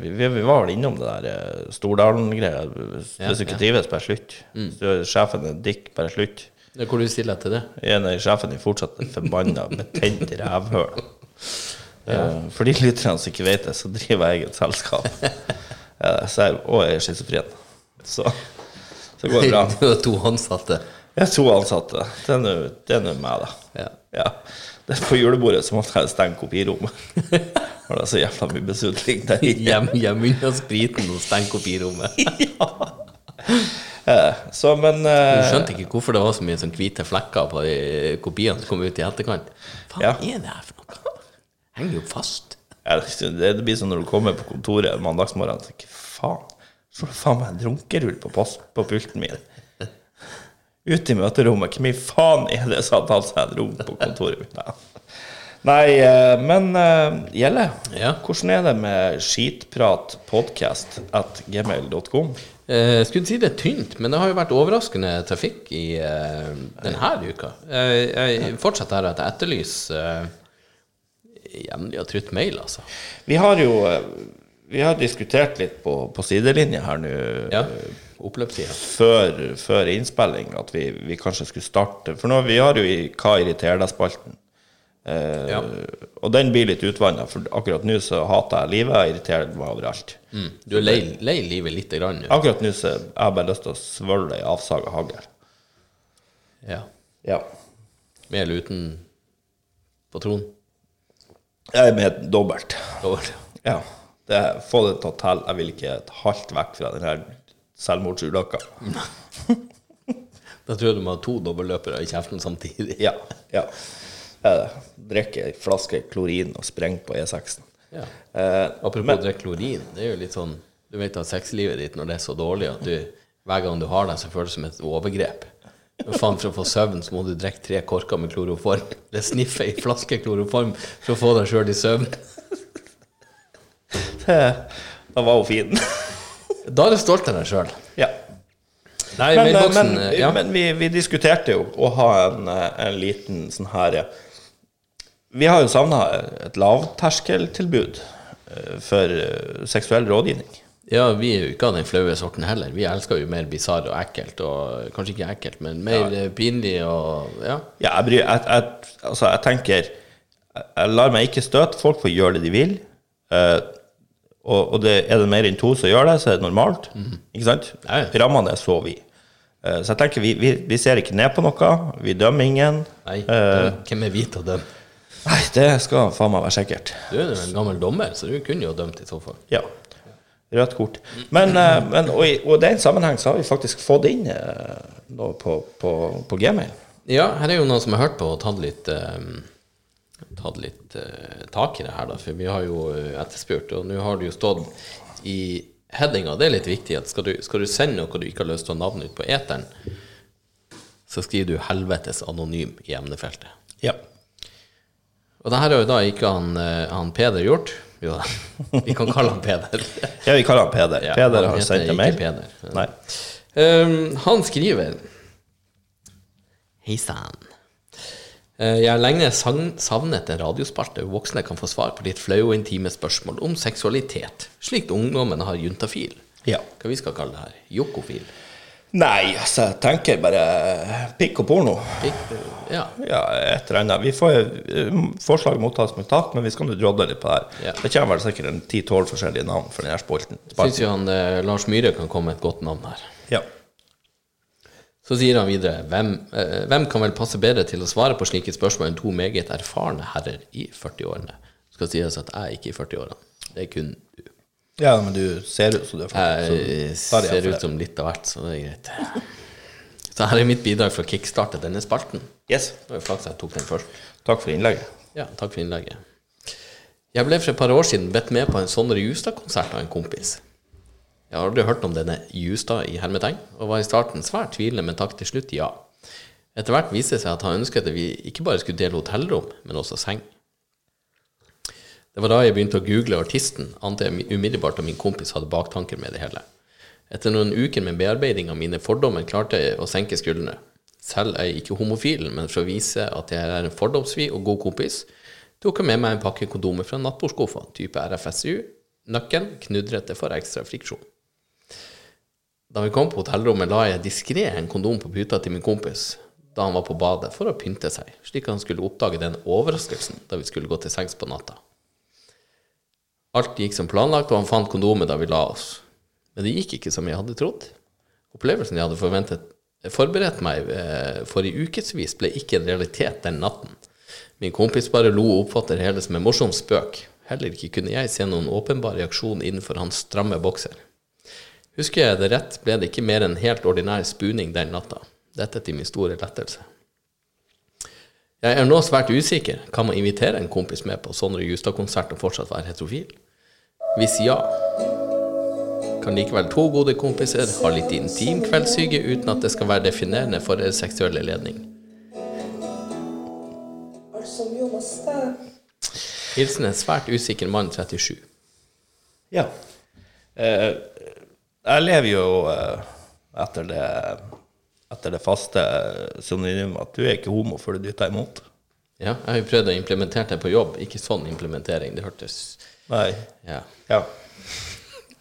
A: vi, vi var vel innom det der eh, Stordalen-greia. Hvis
B: Ja,
A: du ikke
B: ja. Mm.
A: trives, bare slutt. Hvis du er sjefen er en dick, bare slutt.
B: Det er Hvor du stiller deg til det?
A: En av sjefen er fortsatt et forbanna betent rævhøl. Eh, For de lytterne som ikke vet det, så driver jeg eget selskap. Eh, så jeg, og jeg er schizofren. Så, så går det bra.
B: Du har to ansatte.
A: Jeg har to ansatte. Det er nå- det er nå meg, da.
B: Ja.
A: Ja. Det er på julebordet så måtte jeg stenge kopirommet. For det er så jævla mye besudling der inne.
B: Hjem, hjem unna spriten og steng kopirommet.
A: Eh, Så, men
B: Du
A: eh,
B: skjønte ikke hvorfor det var så mye sånn hvite flekker på de kopiene som kom ut i etterkant. Faen,
A: Ja.
B: hva er det her for noe? Henger jo fast.
A: ja, Det det blir sånn når du kommer på kontoret en mandagsmorgen så tenker jeg, faen. Så er det faen meg en drunkerull på, post, på pulten min. Ute i møterommet. Hvem i faen er det som har tatt seg en runk på kontoret mitt? Ja. Nei, eh, men eh, Gjelle,
B: Ja.
A: hvordan er det med skitpratpodkast at gmail.com?
B: Eh, skulle si det er tynt, men det har jo vært overraskende trafikk i eh, denne uka. Eh, jeg fortsetter her at jeg etterlyser eh, jevnlig og trutt mail, altså.
A: Vi har jo eh, vi har diskutert litt på, på sidelinje her nå
B: Ja.
A: Eh,
B: Oppløpstida.
A: før, før innspilling at vi, vi kanskje skulle starte. For nå, vi har jo i Hva irriterer deg-spalten.
B: Ja.
A: Og den blir litt utvanna, for akkurat nå så hater jeg livet. Jeg irriterer meg overalt.
B: Mm. Du er lei, lei livet lite grann nå.
A: Akkurat nå så har jeg bare lyst til å svølle ei avsaga hagl.
B: Ja.
A: Ja.
B: Med eller uten patron?
A: Jeg er med dobbelt.
B: Over.
A: Ja. Det, få det til å telle. Jeg vil ikke et halvt vekk fra den her selvmordsulykka.
B: Da tror jeg du må ha to dobbeltløpere i kjeften samtidig.
A: Ja. ja. Eh, Drikke ei flaske klorin og sprenge på E6-en.
B: Ja.
A: Eh,
B: Apropos men, klorin, det er jo litt sånn Du vet at sexlivet ditt, når det er så dårlig at du hver gang du har det, så føles det som et overgrep. Men faen, For å få søvn så må du drikke tre korker med kloroform. Eller sniffe ei flaske kloroform for å få deg sjøl i søvn.
A: det- da var hun fin.
B: Da er du stolt av deg sjøl.
A: ja.
B: Nei,
A: Men, eh,
B: mailboksen
A: men,
B: ja.
A: men vi, vi diskuterte jo å ha en, eh, en liten sånn her eh, Vi har jo savna et lavterskeltilbud eh, for eh, seksuell rådgivning.
B: ja, vi er jo ikke av den flaue sorten heller. Vi elsker jo mer bisarr og ekkelt. Og kanskje ikke ekkelt, men mer eh, pinlig og Ja.
A: Ja, jeg, bryr, jeg, jeg, altså, jeg tenker jeg, jeg lar meg ikke støte. Folk får gjøre det de vil. Eh, og og det, er det mer enn to som gjør det, så er det normalt. Ikke sant?
B: Ja, ja.
A: Rammene er så vide. Eh, så jeg tenker vi, vi, vi ser ikke ned på noe. Vi dømmer ingen.
B: Nei,
A: Eh,
B: hvem er vi til å dømme?
A: nei, det skal faen meg være sikkert.
B: Du er jo en gammel dommer, så du kunne jo dømt i så fall.
A: Ja. Rødt kort. Men, eh, men og, i, og i den sammenheng så har vi faktisk fått inn eh, noe på, på, på Gmail.
B: Ja, her er jo noen som har hørt på og tatt litt, eh, tatt litt eh, tak i det her, da. For vi har jo eh, etterspurt, og nå har det jo stått i headinga, det er litt viktig, at skal du, skal du sende noe du ikke har lyst til å navne ut på eteren, så skriver du 'helvetes anonym' i emnefeltet.
A: Ja.
B: Og Og det her har jo da ikke han, eh, han Peder gjort. Jo da, vi kan kalle han Peder.
A: Ja, vi kaller han Peder.
B: Ja, han
A: Peder har
B: heter
A: sendt en
B: ikke
A: mail.
B: Peder.
A: Nei.
B: Ehm, han skriver Hei sann. Eh, Jeg har lenge sang- savnet en radiospalte hvor voksne kan få svar på litt flaue og intime spørsmål om seksualitet, slik ungdommen har juntafil.
A: Ja.
B: Hva vi skal kalle det her? Jokofil?
A: Nei, altså, jeg tenker bare eh, pikk og porno.
B: Ikke- Ja.
A: Ja, et eller annet. Vi får eh, forslag mottas med takk, men vi skal nå drodle litt på det her.
B: Ja.
A: Det kommer vel sikkert en 10-12 forskjellige navn for denne spalten.
B: Syns jo han eh, Lars Myhre kan komme med et godt navn her.
A: Ja.
B: Så sier han videre hvem, eh, hvem kan vel passe bedre til å svare på slike spørsmål enn to meget erfarne herrer i 40-årene? Skal sies at jeg er ikke i 40-årene. Det er kun du.
A: ja, men du ser ut som du er
B: Jeg
A: tar jeg
B: ser
A: for
B: ut
A: det.
B: som litt av hvert, så det er greit. Så her er mitt bidrag for å kickstarte denne spalten.
A: Yes.
B: Det var jo flaks jeg tok den først.
A: Takk for innlegget.
B: Ja, takk for innlegget. Jeg ble for et par år siden bedt med på en Sondre Justad-konsert av en kompis. Jeg har aldri hørt om denne Justad i hermetegn, og var i starten svært tvilende, men takk til slutt ja. Etter hvert viste det seg at han ønsket at vi ikke bare skulle dele hotellrom, men også seng. Det var da jeg begynte å google artisten, ante jeg umiddelbart at min kompis hadde baktanker med det hele. Etter noen uker med bearbeiding av mine fordommer klarte jeg å senke skuldrene. Selv er jeg ikke homofil, men for å vise at jeg er en fordomsfri og god kompis, tok jeg med meg en pakke kondomer fra nattbordskuffa, type RFSU, nøkken, knudrete for ekstra friksjon. Da vi kom på hotellrommet, la jeg diskré en kondom på puta til min kompis da han var på badet, for å pynte seg, slik han skulle oppdage den overraskelsen da vi skulle gå til sengs på natta. Alt gikk som planlagt, og han fant kondomet da vi la oss. Men det gikk ikke som jeg hadde trodd. Opplevelsen jeg hadde forventet, forberedt meg eh, for i ukevis, ble ikke en realitet den natten. Min kompis bare lo og oppfatter det hele som en morsom spøk. Heller ikke kunne jeg se noen åpenbar reaksjon innenfor hans stramme bokser. Husker jeg det rett, ble det ikke mer enn helt ordinær spuning den natta. Dette til min store lettelse. Jeg er nå svært usikker. Kan man invitere en kompis med på Sondre Justad-konsert og fortsatt være heterofil? Hvis ja, kan likevel to gode kompiser ha litt intim kveldssyke uten at det skal være definerende for deres seksuelle ledning. Hilsen en svært usikker mann 37.
A: Ja. Eh, jeg lever jo eh, etter det etter det faste synonymet at du er ikke homo før du dytter imot.
B: Ja, jeg har jo prøvd å implementere det på jobb. Ikke sånn implementering. Det hørtes
A: Nei.
B: Ja,
A: Ja.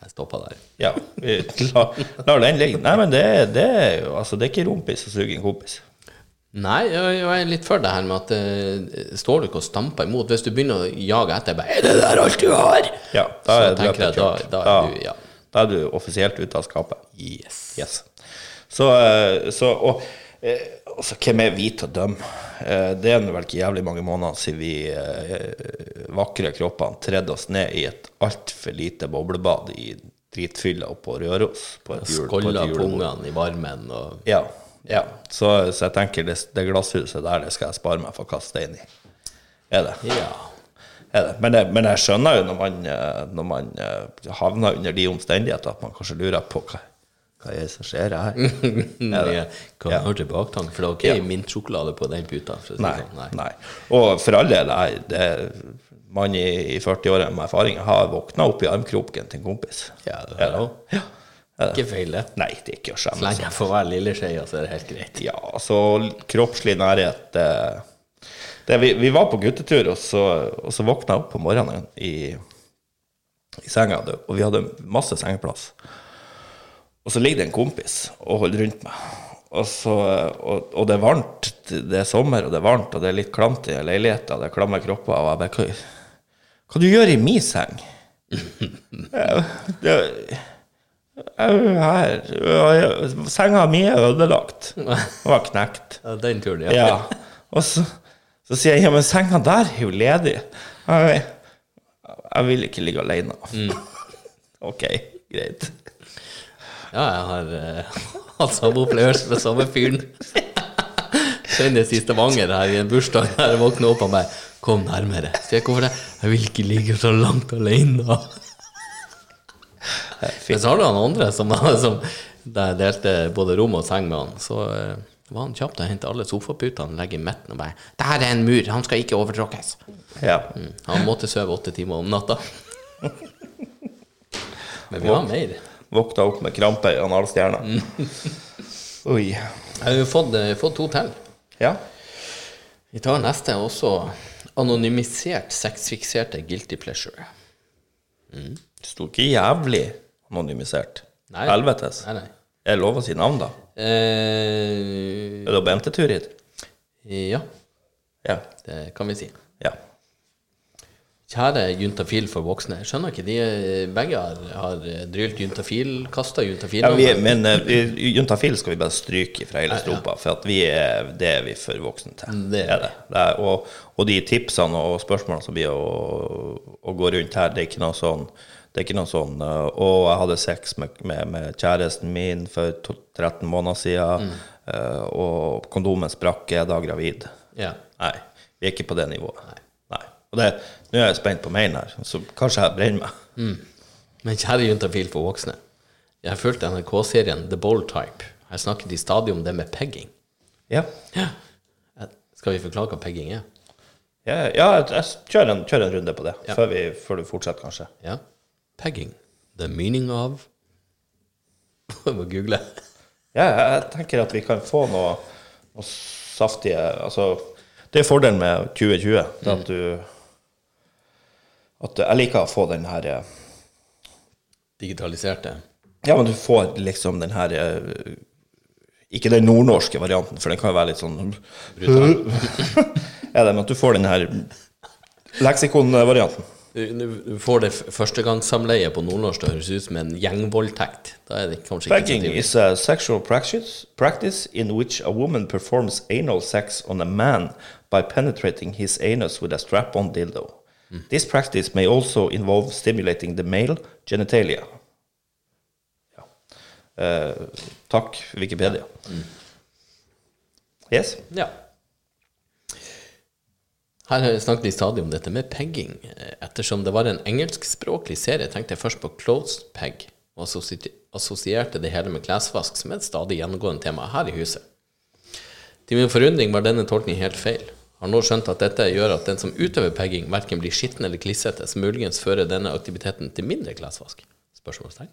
B: jeg stoppa der.
A: ja. Vi la, lar den ligge. Nei, men det, er- det er jo altså, det er ikke rumpis å suge en kompis.
B: Nei, jeg jeg er litt for det her med at eh, står du ikke og stamper imot? Hvis du begynner å jage etter bare, Er det der alt du har?
A: Ja, da
B: Så
A: er
B: tenker jeg,
A: løpet
B: da-
A: kjørt.
B: da er du- ja.
A: da er du offisielt ute av skapet.
B: Yes.
A: Yes. Så, eh, så og, eh, altså, hvem er vi til å dømme? Eh, Det er nå vel ikke jævlig mange måneder siden vi eh, vakre kroppene tredde oss ned i et altfor lite boblebad i dritfylla på Røros. På et jul- på et
B: Skålla
A: julebord.
B: pungene i varmen og
A: Ja. ja. Så, så jeg tenker det, det glasshuset der det skal jeg spare meg for å kaste stein i. Er det?
B: Ja.
A: er det. Men, jeg, men jeg skjønner jo når man, eh, når man eh, havner under de omstendigheter, at man kanskje lurer på hva, hva er det som skjer her.
B: Jeg kan høre til baktanken, for det var ikke
A: Ja.
B: mintsjokolade på den puta. For å si
A: Nei,
B: sånn. Nei.
A: nei. Og for all del, jeg, det, man i, i 40-åra med erfaring har våkna opp i armkroken til en kompis.
B: Ja, det
A: Er
B: er jo
A: Ja.
B: ikke feil, det.
A: Nei, det er ikke å
B: Så
A: skjemme seg.
B: lenge jeg får være lille skeia, så er det helt greit.
A: Ja, altså kroppslig nærhet det, det, vi, vi var på guttetur, og så, og så våkna jeg opp på morgenen i, i senga, det- og vi hadde masse sengeplass. Og så ligger det en kompis og holder rundt meg. Og, så, og, og det er varmt, det er sommer, og det er varmt, og det er litt klamt i leiligheten, og det er klamme kropper, og jeg bare Hva, hva du gjør i min seng? Jeg- det- Au, her ø, ø, Senga mi er ødelagt. Den var knekt.
B: Ja, den turen, ja.
A: Ja. Og så, så sier jeg ja, men senga der er jo ledig. Jeg, jeg vil ikke ligge alene.
B: Mm.
A: OK, greit.
B: Ja, jeg har eh, hatt samme opplevelse med samme fyren. Senest i Stavanger, her i en bursdag, der jeg våkna opp og bare Kom nærmere. Sier jeg hvorfor det? Jeg vil ikke ligge så langt alene. Men så har du han andre som, som der jeg delte både rom og seng med han. Så eh, var han kjapp til å hente alle sofaputene, legge i midten og bare 'Det her er en mur, han skal ikke overtråkkes'. Mm,
A: Ja.
B: Han måtte sove åtte timer om natta. Men vi har mer.
A: Våkna opp med krampe i analstjerna.
B: Mm.
A: Oi.
B: Jeg har jo fått, eh, fått to til.
A: Ja.
B: Vi tar neste også. Anonymisert sexfikserte guilty pleasure.
A: Sto ikke jævlig anonymisert.
B: Nei.
A: Helvetes.
B: Nei, nei.
A: Er det lov å si navn, da?
B: Eh,
A: Er det Bente Turid?
B: ja,
A: Ja.
B: det kan vi si.
A: ja.
B: Kjære juntafil for voksne. Jeg Skjønner ikke, de eh, begge har, har eh, drylt juntafil, kasta juntafil.
A: ja vi, men eh, vi- juntafil skal vi bare stryke fra hele stropa, for at vi er det er vi for voksne til.
B: Det er
A: det. det er, og, og de tipsene og spørsmålene som blir å, å gå rundt her, det er ikke noe sånn det er ikke noe sånn eh, 'Å, jeg hadde sex med, med, med kjæresten min for to- 13 måneder
B: Mm.
A: siden, eh, og kondomen sprakk, er jeg da gravid?'
B: ja.
A: Nei, vi er ikke på det nivået. Nei. Og det, nå er jeg spent på mailen her, så kanskje jeg brenner meg.
B: Mm. Men kjære juntafil for voksne. Jeg fulgte NRK-serien The Bold Type. Her snakket de stadig om det med pegging.
A: Ja,
B: Ja. Skal vi forklare hva pegging er?
A: ja, ja jeg, jeg kjører, en, kjører en runde på det, før, vi, før du fortsetter, kanskje.
B: Ja. Pegging. The meaning of Jeg må google.
A: Ja, jeg, jeg tenker at vi kan få noe, noe saftige Altså, det er fordelen med 2020, det at du At jeg liker å få den her eh,
B: Digitaliserte.
A: Ja, men du får liksom den her eh, Ikke den nordnorske varianten, for den kan jo være litt sånn Er det med at du får den her leksikonvarianten?
B: Du, du du får det f- førstegangssamleie på nordnorsk til å høres ut som en gjengvoldtekt. Da er det kanskje ikke
A: Pegging
B: så tidlig.
A: is a sexual practice, practice in which a woman performs anal sex on a man by penetrating his anus with a strap-on dildo. This practice may also involve stimulating the male genitalia. Ja. Eh, takk, Wikipedia. Yes?
B: Ja. Her snakket vi stadig om dette med pegging. Eh, Ettersom det var en engelskspråklig serie, tenkte jeg først på closed peg, og assosi- assosierte det hele med klesvask, som er et stadig gjennomgående tema her i huset. Til min forundring var denne tolkningen helt feil. Har nå skjønt at dette gjør at den som utøver pegging, verken blir skitten eller klissete, som muligens fører denne aktiviteten til mindre klesvask? Spørsmålstegn.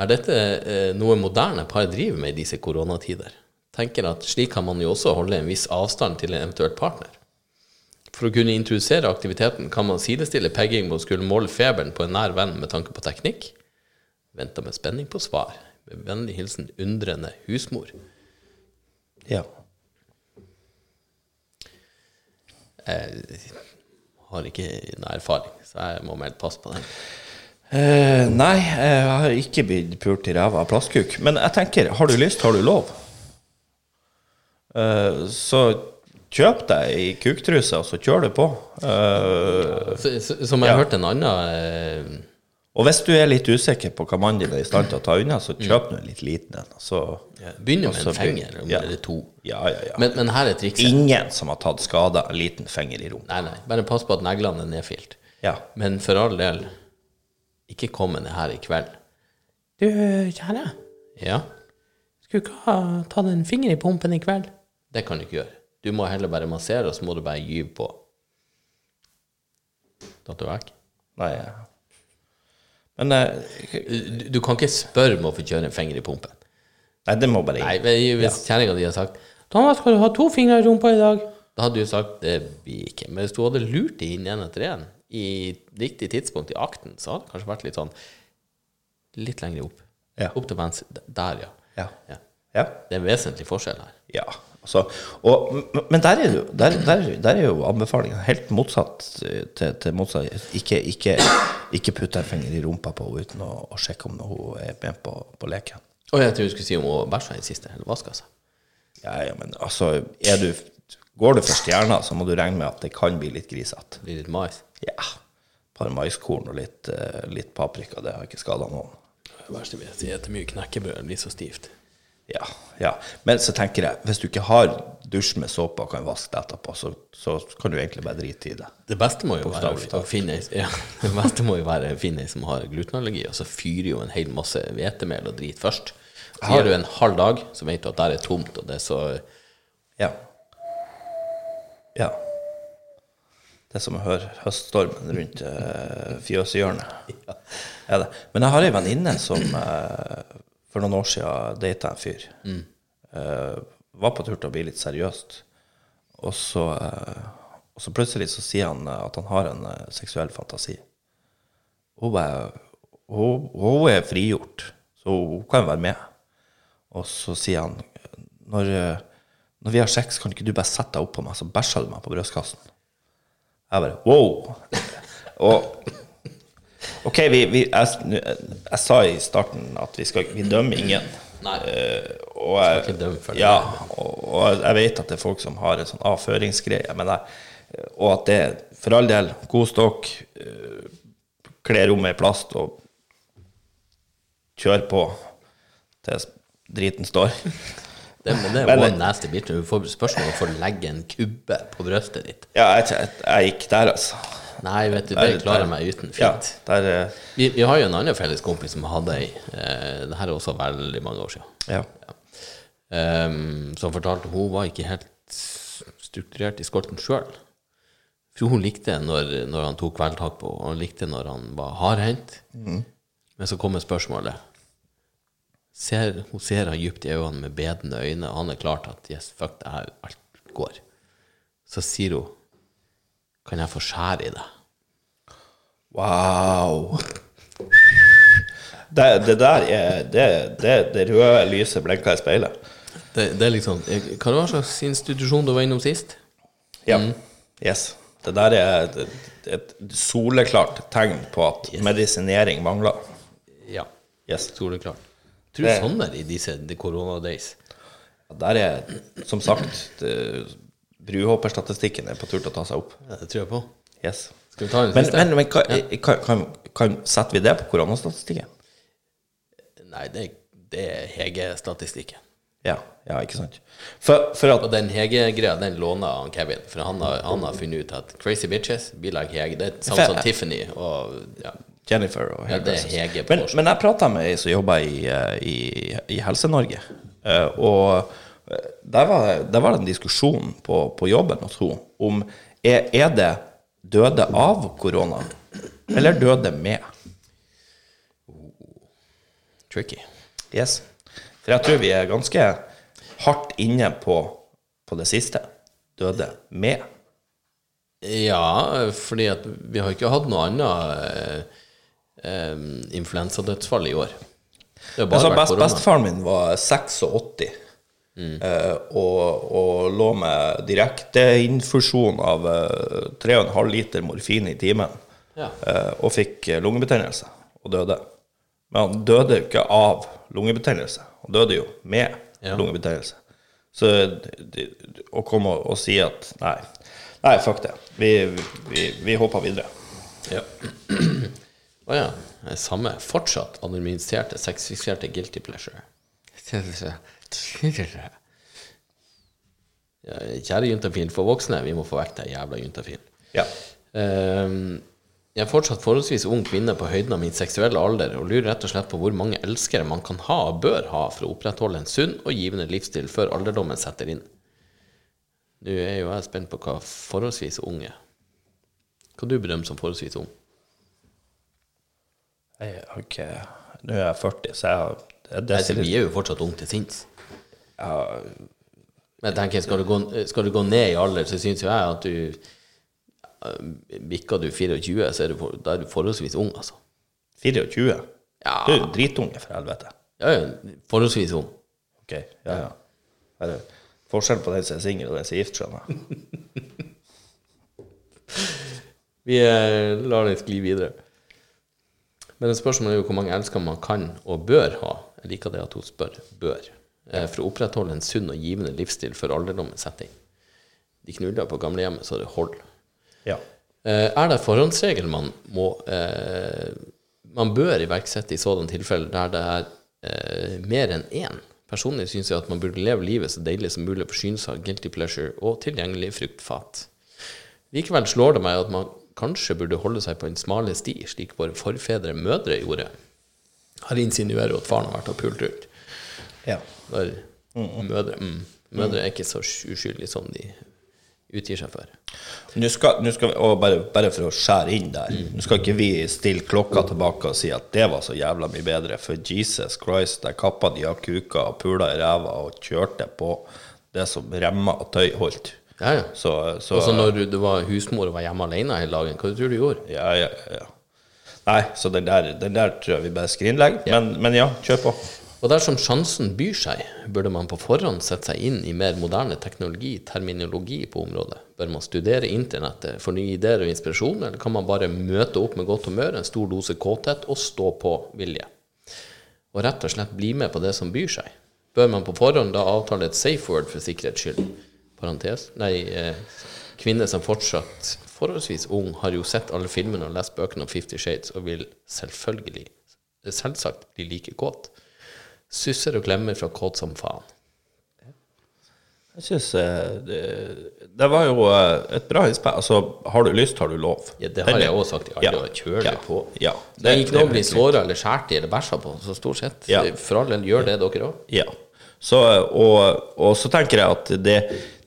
B: Er dette eh, noe moderne par driver med i disse koronatider? Tenker at slik kan man jo også holde en viss avstand til en eventuell partner. For å kunne introdusere aktiviteten kan man sidestille pegging med å skulle måle feberen på en nær venn med tanke på teknikk. Venter med spenning på svar. Med vennlig hilsen undrende husmor.
A: Ja.
B: Har ikke noe erfaring, så jeg må melde pass på den.
A: Eh, nei, eh, jeg har ikke blitt pult i ræva av plastkuk. Men jeg tenker, har du lyst, har du lov. Eh, så kjøp deg ei kuktruse, og så kjør du på. Eh,
B: Så, så, som jeg hørte en annen eh,
A: og hvis du er litt usikker på hva mannen din er i stand til å ta unna, så kjøp nå en litt liten en. og Så,
B: Begynner med
A: Altså,
B: en fenger om
A: ja.
B: eller to.
A: ja, ja, ja.
B: Men, men her er trikset.
A: Ingen som har tatt skade av en liten fenger i rommet.
B: Nei, nei. Bare pass på at neglene er nedfilt.
A: Ja.
B: Men for all del, ikke kom med det her i kveld.
C: Du, kjære,
B: Ja,
C: skulle ikke ha tatt en finger i pumpen i kveld?
B: det kan du ikke gjøre. Du må heller bare massere, og så må du bare gyve på. Datt du vekk?
A: Nei. ja. Men eh,
B: Du, du kan ikke spørre om å få kjøre en finger i pumpen.
A: Nei, det må bare
B: Nei,
A: inn.
B: men hvis kjerringa di hadde sagt
C: Thomas, skal du ha to fingre i rumpa i dag?
B: Da hadde du sagt det blir ikke. Men hvis du hadde lurt det inn en etter en i riktig tidspunkt i akten, så hadde det kanskje vært litt sånn Litt lenger opp.
A: Ja.
B: Opp til venstre. Der, ja.
A: Ja.
B: ja.
A: ja.
B: Det er en vesentlig forskjell her.
A: Ja. Altså, og, m- men der er, det jo, der, der, der er jo anbefalingen helt motsatt eh, til, til motsatt. Ikke, ikke, ikke putte en finger i rumpa på henne uten å, å sjekke om hun er med på, på leken.
B: Og jeg tror du skulle si om hun bæsja i det siste, eller vaska seg.
A: Ja, ja, men altså, er du, går du for stjerna, så må du regne med at det kan bli litt grisete.
B: Det blir litt mais.
A: Ja. Et par maiskorn og litt, eh, litt paprika, det har ikke skada noen.
B: Det verste vil jeg si, er at mye knekkebrød det blir så stivt.
A: Ja, ja. Men så tenker jeg, hvis du ikke har dusj med såpe og kan vaske det etterpå, så, så kan du egentlig bare drite i det.
B: Det beste må jo være
A: Bokstavelig
B: å- å finne ei ja, det beste må jo være å finne ei som har glutenallergi, og så fyrer jo en hel masse hvetemel og drit først. Så gir du en halv dag, så vet du at der er tomt, og det er så
A: Ja. Ja. Det er som å høre høststormen rundt eh, fjøshjørnet. Er det. Men jeg har ei venninne som eh, for noen år siden data en fyr. Eh, var på tur til å bli litt seriøst. Og så, eh, og så plutselig så sier han eh, at han har en eh, seksuell fantasi. Hun, bare, hun, hun er frigjort, så hun kan være med. Og så sier han når, eh, når vi har sex, kan ikke du bare sette deg opp på meg, så bæsjer du meg på brystkassen? Jeg bare wow! Og OK, vi, vi, jeg, jeg, sa i starten at vi, skal, vi dømmer ingen.
B: Nei.
A: Eh, og jeg,
B: ikke dømme for det.
A: ja, og, og jeg vet at det er folk som har en sånn avføringsgreie, men jeg, og at det er, for all del, god stokk, eh, kle rommet i plast og kjør på til driten står.
B: Det, men det er
A: Men-
B: one nasty bitch. Du får spørsmål om å få legge en kubbe på brøstet ditt.
A: Ja, jeg, jeg, jeg gikk der, altså.
B: Nei, vet du,
A: Nei,
B: det klarer
A: nei.
B: jeg meg uten.
A: Ja,
B: Fint.
A: der eh,
B: Vi, vi har jo en annen felles kompis som hadde ei eh, Det her er også veldig mange år siden.
A: Ja.
B: Ehm, som fortalte hun var ikke helt strukturert i skolten sjøl. For hun likte når, når han tok kveldtak på, og hun likte når han var hardhendt. Men så kommer spørsmålet. Ser, hun ser han dypt i øynene med bedende øyne, og han er klart at yes, fuck det her, alt går. Så sier hun, kan jeg få skjære i deg?
A: Wow! Det, det der er det, det, det røde lyset blinker i speilet.
B: Det, det er liksom, hva var slags institusjon du var innom sist?
A: Ja. Yes. Det der er et, et soleklart tegn på at medisinering mangler.
B: Ja,
A: Yes.
B: soleklart. Tror
A: Det-
B: sånn er det i disse de koronadays.
A: Der er, som sagt, det- bruhopperstatistikken er på tur til å ta seg opp.
B: Ja, det tror jeg på.
A: Yes.
B: Skal vi ta en
A: Men,
B: siste?
A: men, men kan, kan, kan, kan, setter vi det på koronastatistikken?
B: Nei, det, det er Hege-statistikken.
A: Ja, ja, ikke sant? For, for at
B: Og den Hege-greia, den låner han Kevin. For han har, han har funnet ut at crazy bitches be like Hege. Det er samme som Tiffany. Og ja,
A: Jennifer og
B: Ja, det er
A: hairdressers.
B: Hege på
A: men,
B: norsk.
A: men jeg prata med ei som jobba i, eh, i, i Helse-Norge, eh, og eh, der var, der var det en diskusjon på, på jobben hos henne om er, er det døde av korona, eller døde med?
B: tricky.
A: Yes. For jeg tror vi er ganske hardt inne på, på det siste. Døde med.
B: Ja, fordi at vi har ikke hatt noe annet eh, eh, influensadødsfall i år. Det har bare
A: Altså,
B: vært
A: best,
B: korona.
A: bestefaren min var 86 eh, og, og lå med direkteinfusjon av eh, 3,5 liter morfin i timen.
B: Ja.
A: eh, og fikk eh, lungebetennelse og døde. Men han døde jo ikke av lungebetennelse, han døde jo med
B: Ja.
A: lungebetennelse. Så d- d- å komme og, og si at nei, nei, fuck det. Vi, vi, vi hopper videre.
B: Ja. Å ja. Det er Samme. Fortsatt anonymiserte, sexfikserte guilty pleasure. Ja, kjære juntafil, for voksne, vi må få vekk deg jævla juntafil.
A: Ja.
B: Ehm, jeg er fortsatt forholdsvis ung kvinne på høyden av min seksuelle alder og lurer rett og slett på hvor mange elskere man kan ha og bør ha for å opprettholde en sunn og givende livsstil før alderdommen setter inn. Nå er jo jeg spent på hva forholdsvis ung er. Hva du bedømmer som forholdsvis ung?
A: Jeg har ikke- Nå er jeg 40, så jeg har det- det
B: Nei, så
A: stiller-
B: Altså, vi er jo fortsatt unge til sinns. Men jeg tenker, skal du, gå, skal du gå ned i alder, så syns jo jeg at du eh, Bikker du 24, så er du, for- da er du forholdsvis ung, altså.
A: 24?
B: Ja.
A: Du er jo dritunge, for helvete.
B: Ja, ja, forholdsvis ung.
A: Ok, ja, ja. Er det forskjell på den som er singel, og den som er gift, skjønner jeg.
B: Vi eh, lar det skli videre. Men spørsmålet er jo hvor mange elsker man kan og bør ha. Jeg liker det at hun spør 'bør'. eh, For å opprettholde en sunn og givende livsstil før alderdommen setter inn. De knuller på gamlehjemmet så det holder.
A: Ja.
B: Eh, Er det forhåndsregel man må eh, Man bør iverksette i sådanne tilfeller der det er eh, mer enn én? Personlig syns jeg at man burde leve livet så deilig som mulig og forsyne seg av guilty pleasure og tilgjengelig fruktfat. Likevel slår det meg at man kanskje burde holde seg på en smale sti, slik våre forfedre mødre gjorde. Her insinuerer hun at faren har vært og pult rundt.
D: Ja.
B: Når mødre, mm, mødre er ikke så uskyldige som de utgir seg for.
A: Nå skal, nå skal vi, og bare, bare for å skjære inn der Nå skal ikke vi stille klokka tilbake og si at det var så jævla mye bedre, for Jesus Christ, der kappa de av kuka og pula i ræva og kjørte på det som remmer og tøy holdt.
B: Ja, ja.
A: Så, så,
B: Og så når du, du var husmor og var hjemme alene hele dagen, hva tror du du gjorde?
A: Ja, ja, ja. Nei, så den der, den der tror jeg vi bare skrinlegger. Men, men ja, kjør på.
B: Og dersom sjansen byr seg, burde man på forhånd sette seg inn i mer moderne teknologi, terminologi på området. Bør man studere internettet for nye ideer og inspirasjon, eller kan man bare møte opp med godt humør, en stor dose kåthet og stå på vilje? Og rett og slett bli med på det som byr seg. Bør man på forhånd da avtale et safe word for sikkerhets skyld? Parentes. Nei, eh, kvinne som fortsatt forholdsvis ung, har jo sett alle filmene og lest bøkene om Fifty Shades og vil selvfølgelig, selvsagt, bli like kåt. Susser og klemmer fra kåt som faen.
A: Jeg synes, eh, det, det var jo eh, et bra innspill. Altså, har du lyst, har du lov.
B: Ja, det har
A: Den-
B: jeg også sagt i alle år. Kjør det
A: ja,
B: på.
A: Ja.
B: Det er ikke noe å bli
A: litt-
B: såra eller skåret i eller bæsja på, så stort sett.
A: Ja.
B: Det- For all del, gjør det dere òg.
A: Ja. Så, og, og så tenker jeg at det,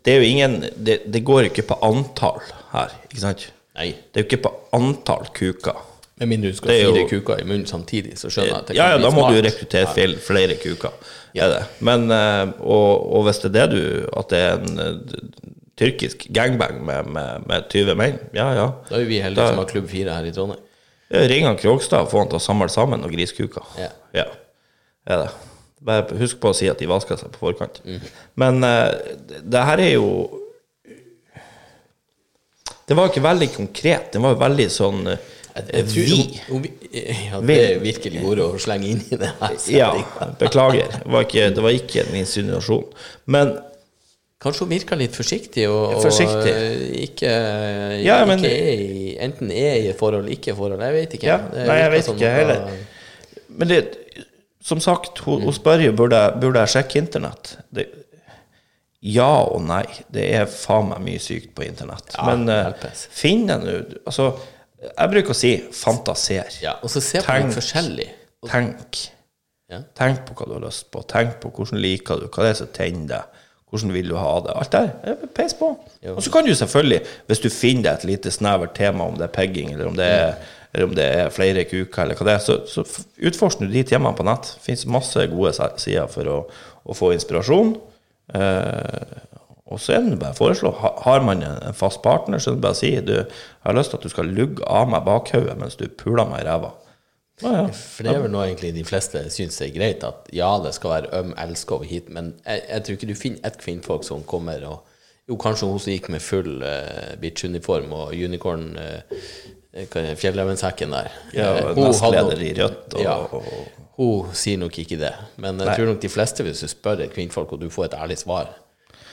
A: det er jo ingen det, det går ikke på antall her, ikke sant?
B: Nei.
A: Det er jo ikke på antall kuker.
B: Med mindre du skal
A: Det er
B: ha fire
A: jo-
B: kuker i munnen samtidig, så skjønner jeg at det
A: Ja, ja,
B: kan bli
A: da må
B: smart.
A: du rekruttere fel- flere kuker. Er det. Men, eh, og, og hvis det er det du At det er en eh, tyrkisk gangbang med, med, med 20 menn, ja ja.
B: Da er jo vi heldige som har Klubb 4 her i Trondheim.
A: Ring han Krogstad og få han til å samle sammen noen griskuker.
B: Ja.
A: Ja, er det. Bare husk på å si at de vasker seg på forkant. Men eh, det- det her er jo Det var ikke veldig konkret. Det var veldig sånn eh,
B: Jeg tror-
A: Vi.
B: om- om vi- eh, Ja, det er virkelig ordet å slenge inn i det her.
A: Ja,
B: setting.
A: beklager. Det var ikke, det var ikke en insinuasjon. Men
B: Kanskje hun virker litt forsiktig, og,
A: Forsiktig.
B: og eh, ikke,
A: Ja, men-
B: ikke er i, enten er i et forhold, ikke i forhold. Jeg vet ikke.
A: Ja,
B: Det sånn
A: nei, jeg
B: virker
A: vet
B: som
A: ikke
B: noe-
A: heller. Men det, som sagt, hun,
B: Mm.
A: hun spør jo burde, jeg- burde jeg sjekke internett. Det, ja og nei. Det er faen meg mye sykt på internett.
B: Ja,
A: Men eh,
B: hjelpes.
A: finn deg nå Altså, jeg bruker å si fantaser.
B: Ja, og så se på
A: Tenk.
B: litt forskjellig.
A: Tenk.
B: Ja.
A: Tenk på hva du har lyst på. Tenk på hvordan liker du, hva det er som tenner deg. Hvordan vil du ha det? Alt der. eh, Peis på.
B: Jo.
A: Og så kan du selvfølgelig, hvis du finner deg et lite snevert tema, om det er pegging, eller om det er, eller om det er flere kuker, eller hva det er, så, så f- utforsker du de temaene på nett. Det fins masse gode se- sider for å, å få inspirasjon. Eh, og så er det bare å foreslå. Ha- Har man en en fast partner, så er det bare å si du, jeg har lyst til at du skal lugge av meg bakhodet mens du puler meg i ræva. Ja, ja.
B: For det er vel noe egentlig de fleste syns er greit, at ja, det skal være øm elsk over hit, men jeg, jeg tror ikke du finner et kvinnfolk som kommer og Jo, kanskje hun som gikk med full eh, bitch-uniform og unicorn uh, fjellrevensekken der.
A: Ja,
B: Eh,
A: og
B: hun
A: nestleder
B: hadde nok-
A: i Rødt og-
B: ja,
A: og-
B: Hun sier nok ikke det, men jeg
A: Nei.
B: tror nok de fleste, hvis du spør et kvinnfolk og du får et ærlig svar,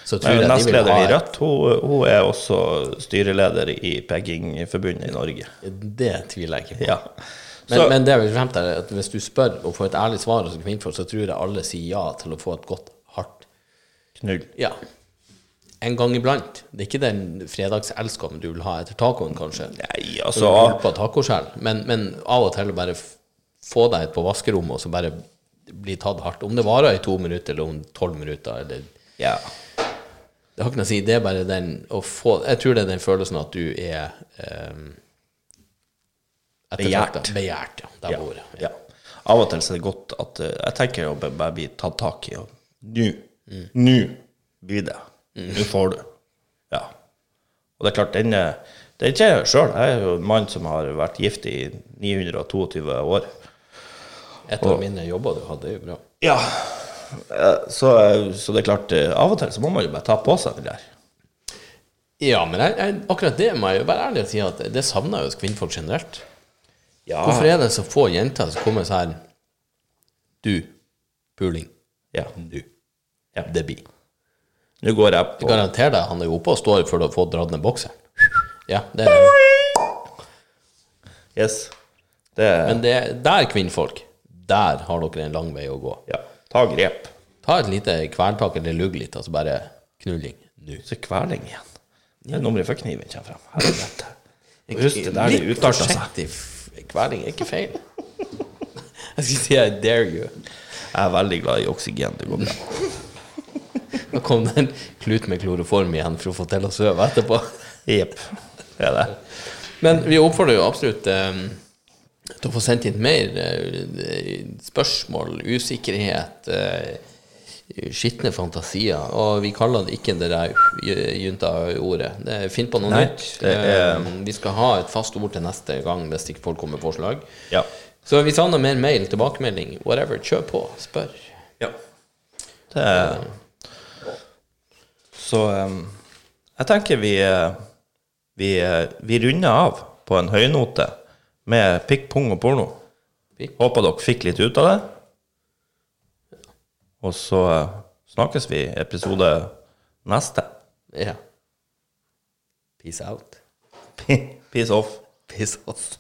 B: så tror
A: Nei,
B: jeg de vil ha
A: Nestlederen i
B: et-
A: Rødt hun, hun er også styreleder i Peggingforbundet i Norge.
B: Det tviler jeg ikke på.
A: Ja.
B: Men,
A: Så,
B: men det er vel frem til at hvis du spør og får et ærlig svar, som kvinnfolk, så tror jeg alle sier ja til å få et godt, hardt
A: knull.
B: Ja. En gang iblant. Det er ikke den fredagselskeren du vil ha etter tacoen, kanskje.
A: Nei,
B: Så,
A: altså
B: du vil på tacoskjell. Men, men av og til bare f- få deg et på vaskerommet, og så bare bli tatt hardt. Om det varer i to minutter, eller om tolv minutter, eller
A: ja.
B: Det har ikke noe å si. Det er bare den å få Jeg tror det er den følelsen at du er um,
A: Begjært.
B: Begjært, ja. Der
A: Ja,
B: var ordet.
A: ja. Av og til så er det godt at eh, Jeg tenker å bare bare bli tatt tak i. og Nå.
B: Mm.
A: Nå blir det. Nå får du. Ja. Og det er klart, den eh, Det er ikke jeg sjøl. Jeg er jo en mann som har vært gift i 922 år.
B: Et av mine jobber du hadde, er jo bra.
A: Ja. Eh, Så, eh, så det er klart, eh, av og til så må man jo bare ta på seg det der.
B: Ja, men jeg, jeg, akkurat det må jeg jo være ærlig og si at det savner jeg hos kvinnfolk generelt.
A: Ja.
B: Hvorfor er det så få jenter som kommer sånn her Du, puling.
A: Ja.
B: Du.
A: Ja.
B: Det blir.
A: Nå går jeg
B: Jeg
A: på
B: garanterer deg, han er jo oppe og står før du har fått dratt ned bokseren. Ja, det er det.
A: Yes. Det er
B: Men det er der, kvinnfolk, der har dere en lang vei å gå.
A: Ja. Ta grep.
B: Ta et lite kverntak eller lugg litt, altså bare knulling nå.
A: Så kveling igjen. Det er nummeret for kniven kommer frem. Helvete. Husk det altså. der det
B: altså.
A: utarter seg.
B: forsiktig f- kveling er ikke feil. Jeg skulle si I dare you.
A: Jeg er veldig glad i oksygen. Det går bra.
B: Nå kom det en klut med kloroform igjen for å få til å sove etterpå.
A: Jepp. Det er det.
B: Men vi oppfordrer jo absolutt eh, til å få sendt inn mer eh, spørsmål, usikkerhet, eh, skitne fantasier. Og vi kaller det ikke det der j- junta-ordet. Det- Finn på noe
A: Nei,
B: nytt.
A: det er-
B: Eh, vi skal ha et fast ord til neste gang hvis ikke folk kommer med forslag.
A: Ja.
B: Så vi savner mer mail, tilbakemelding, whatever. Kjør på, spør.
A: Det er Så em, jeg tenker vi, eh, vi, eh, vi runder av på en høynote med pikk, pung og porno.
B: Pikk.
A: Håper dere fikk litt ut av det. Og så eh, snakkes vi i episode neste.
B: Ja. Peace out.
A: Peace off.
B: Peace off.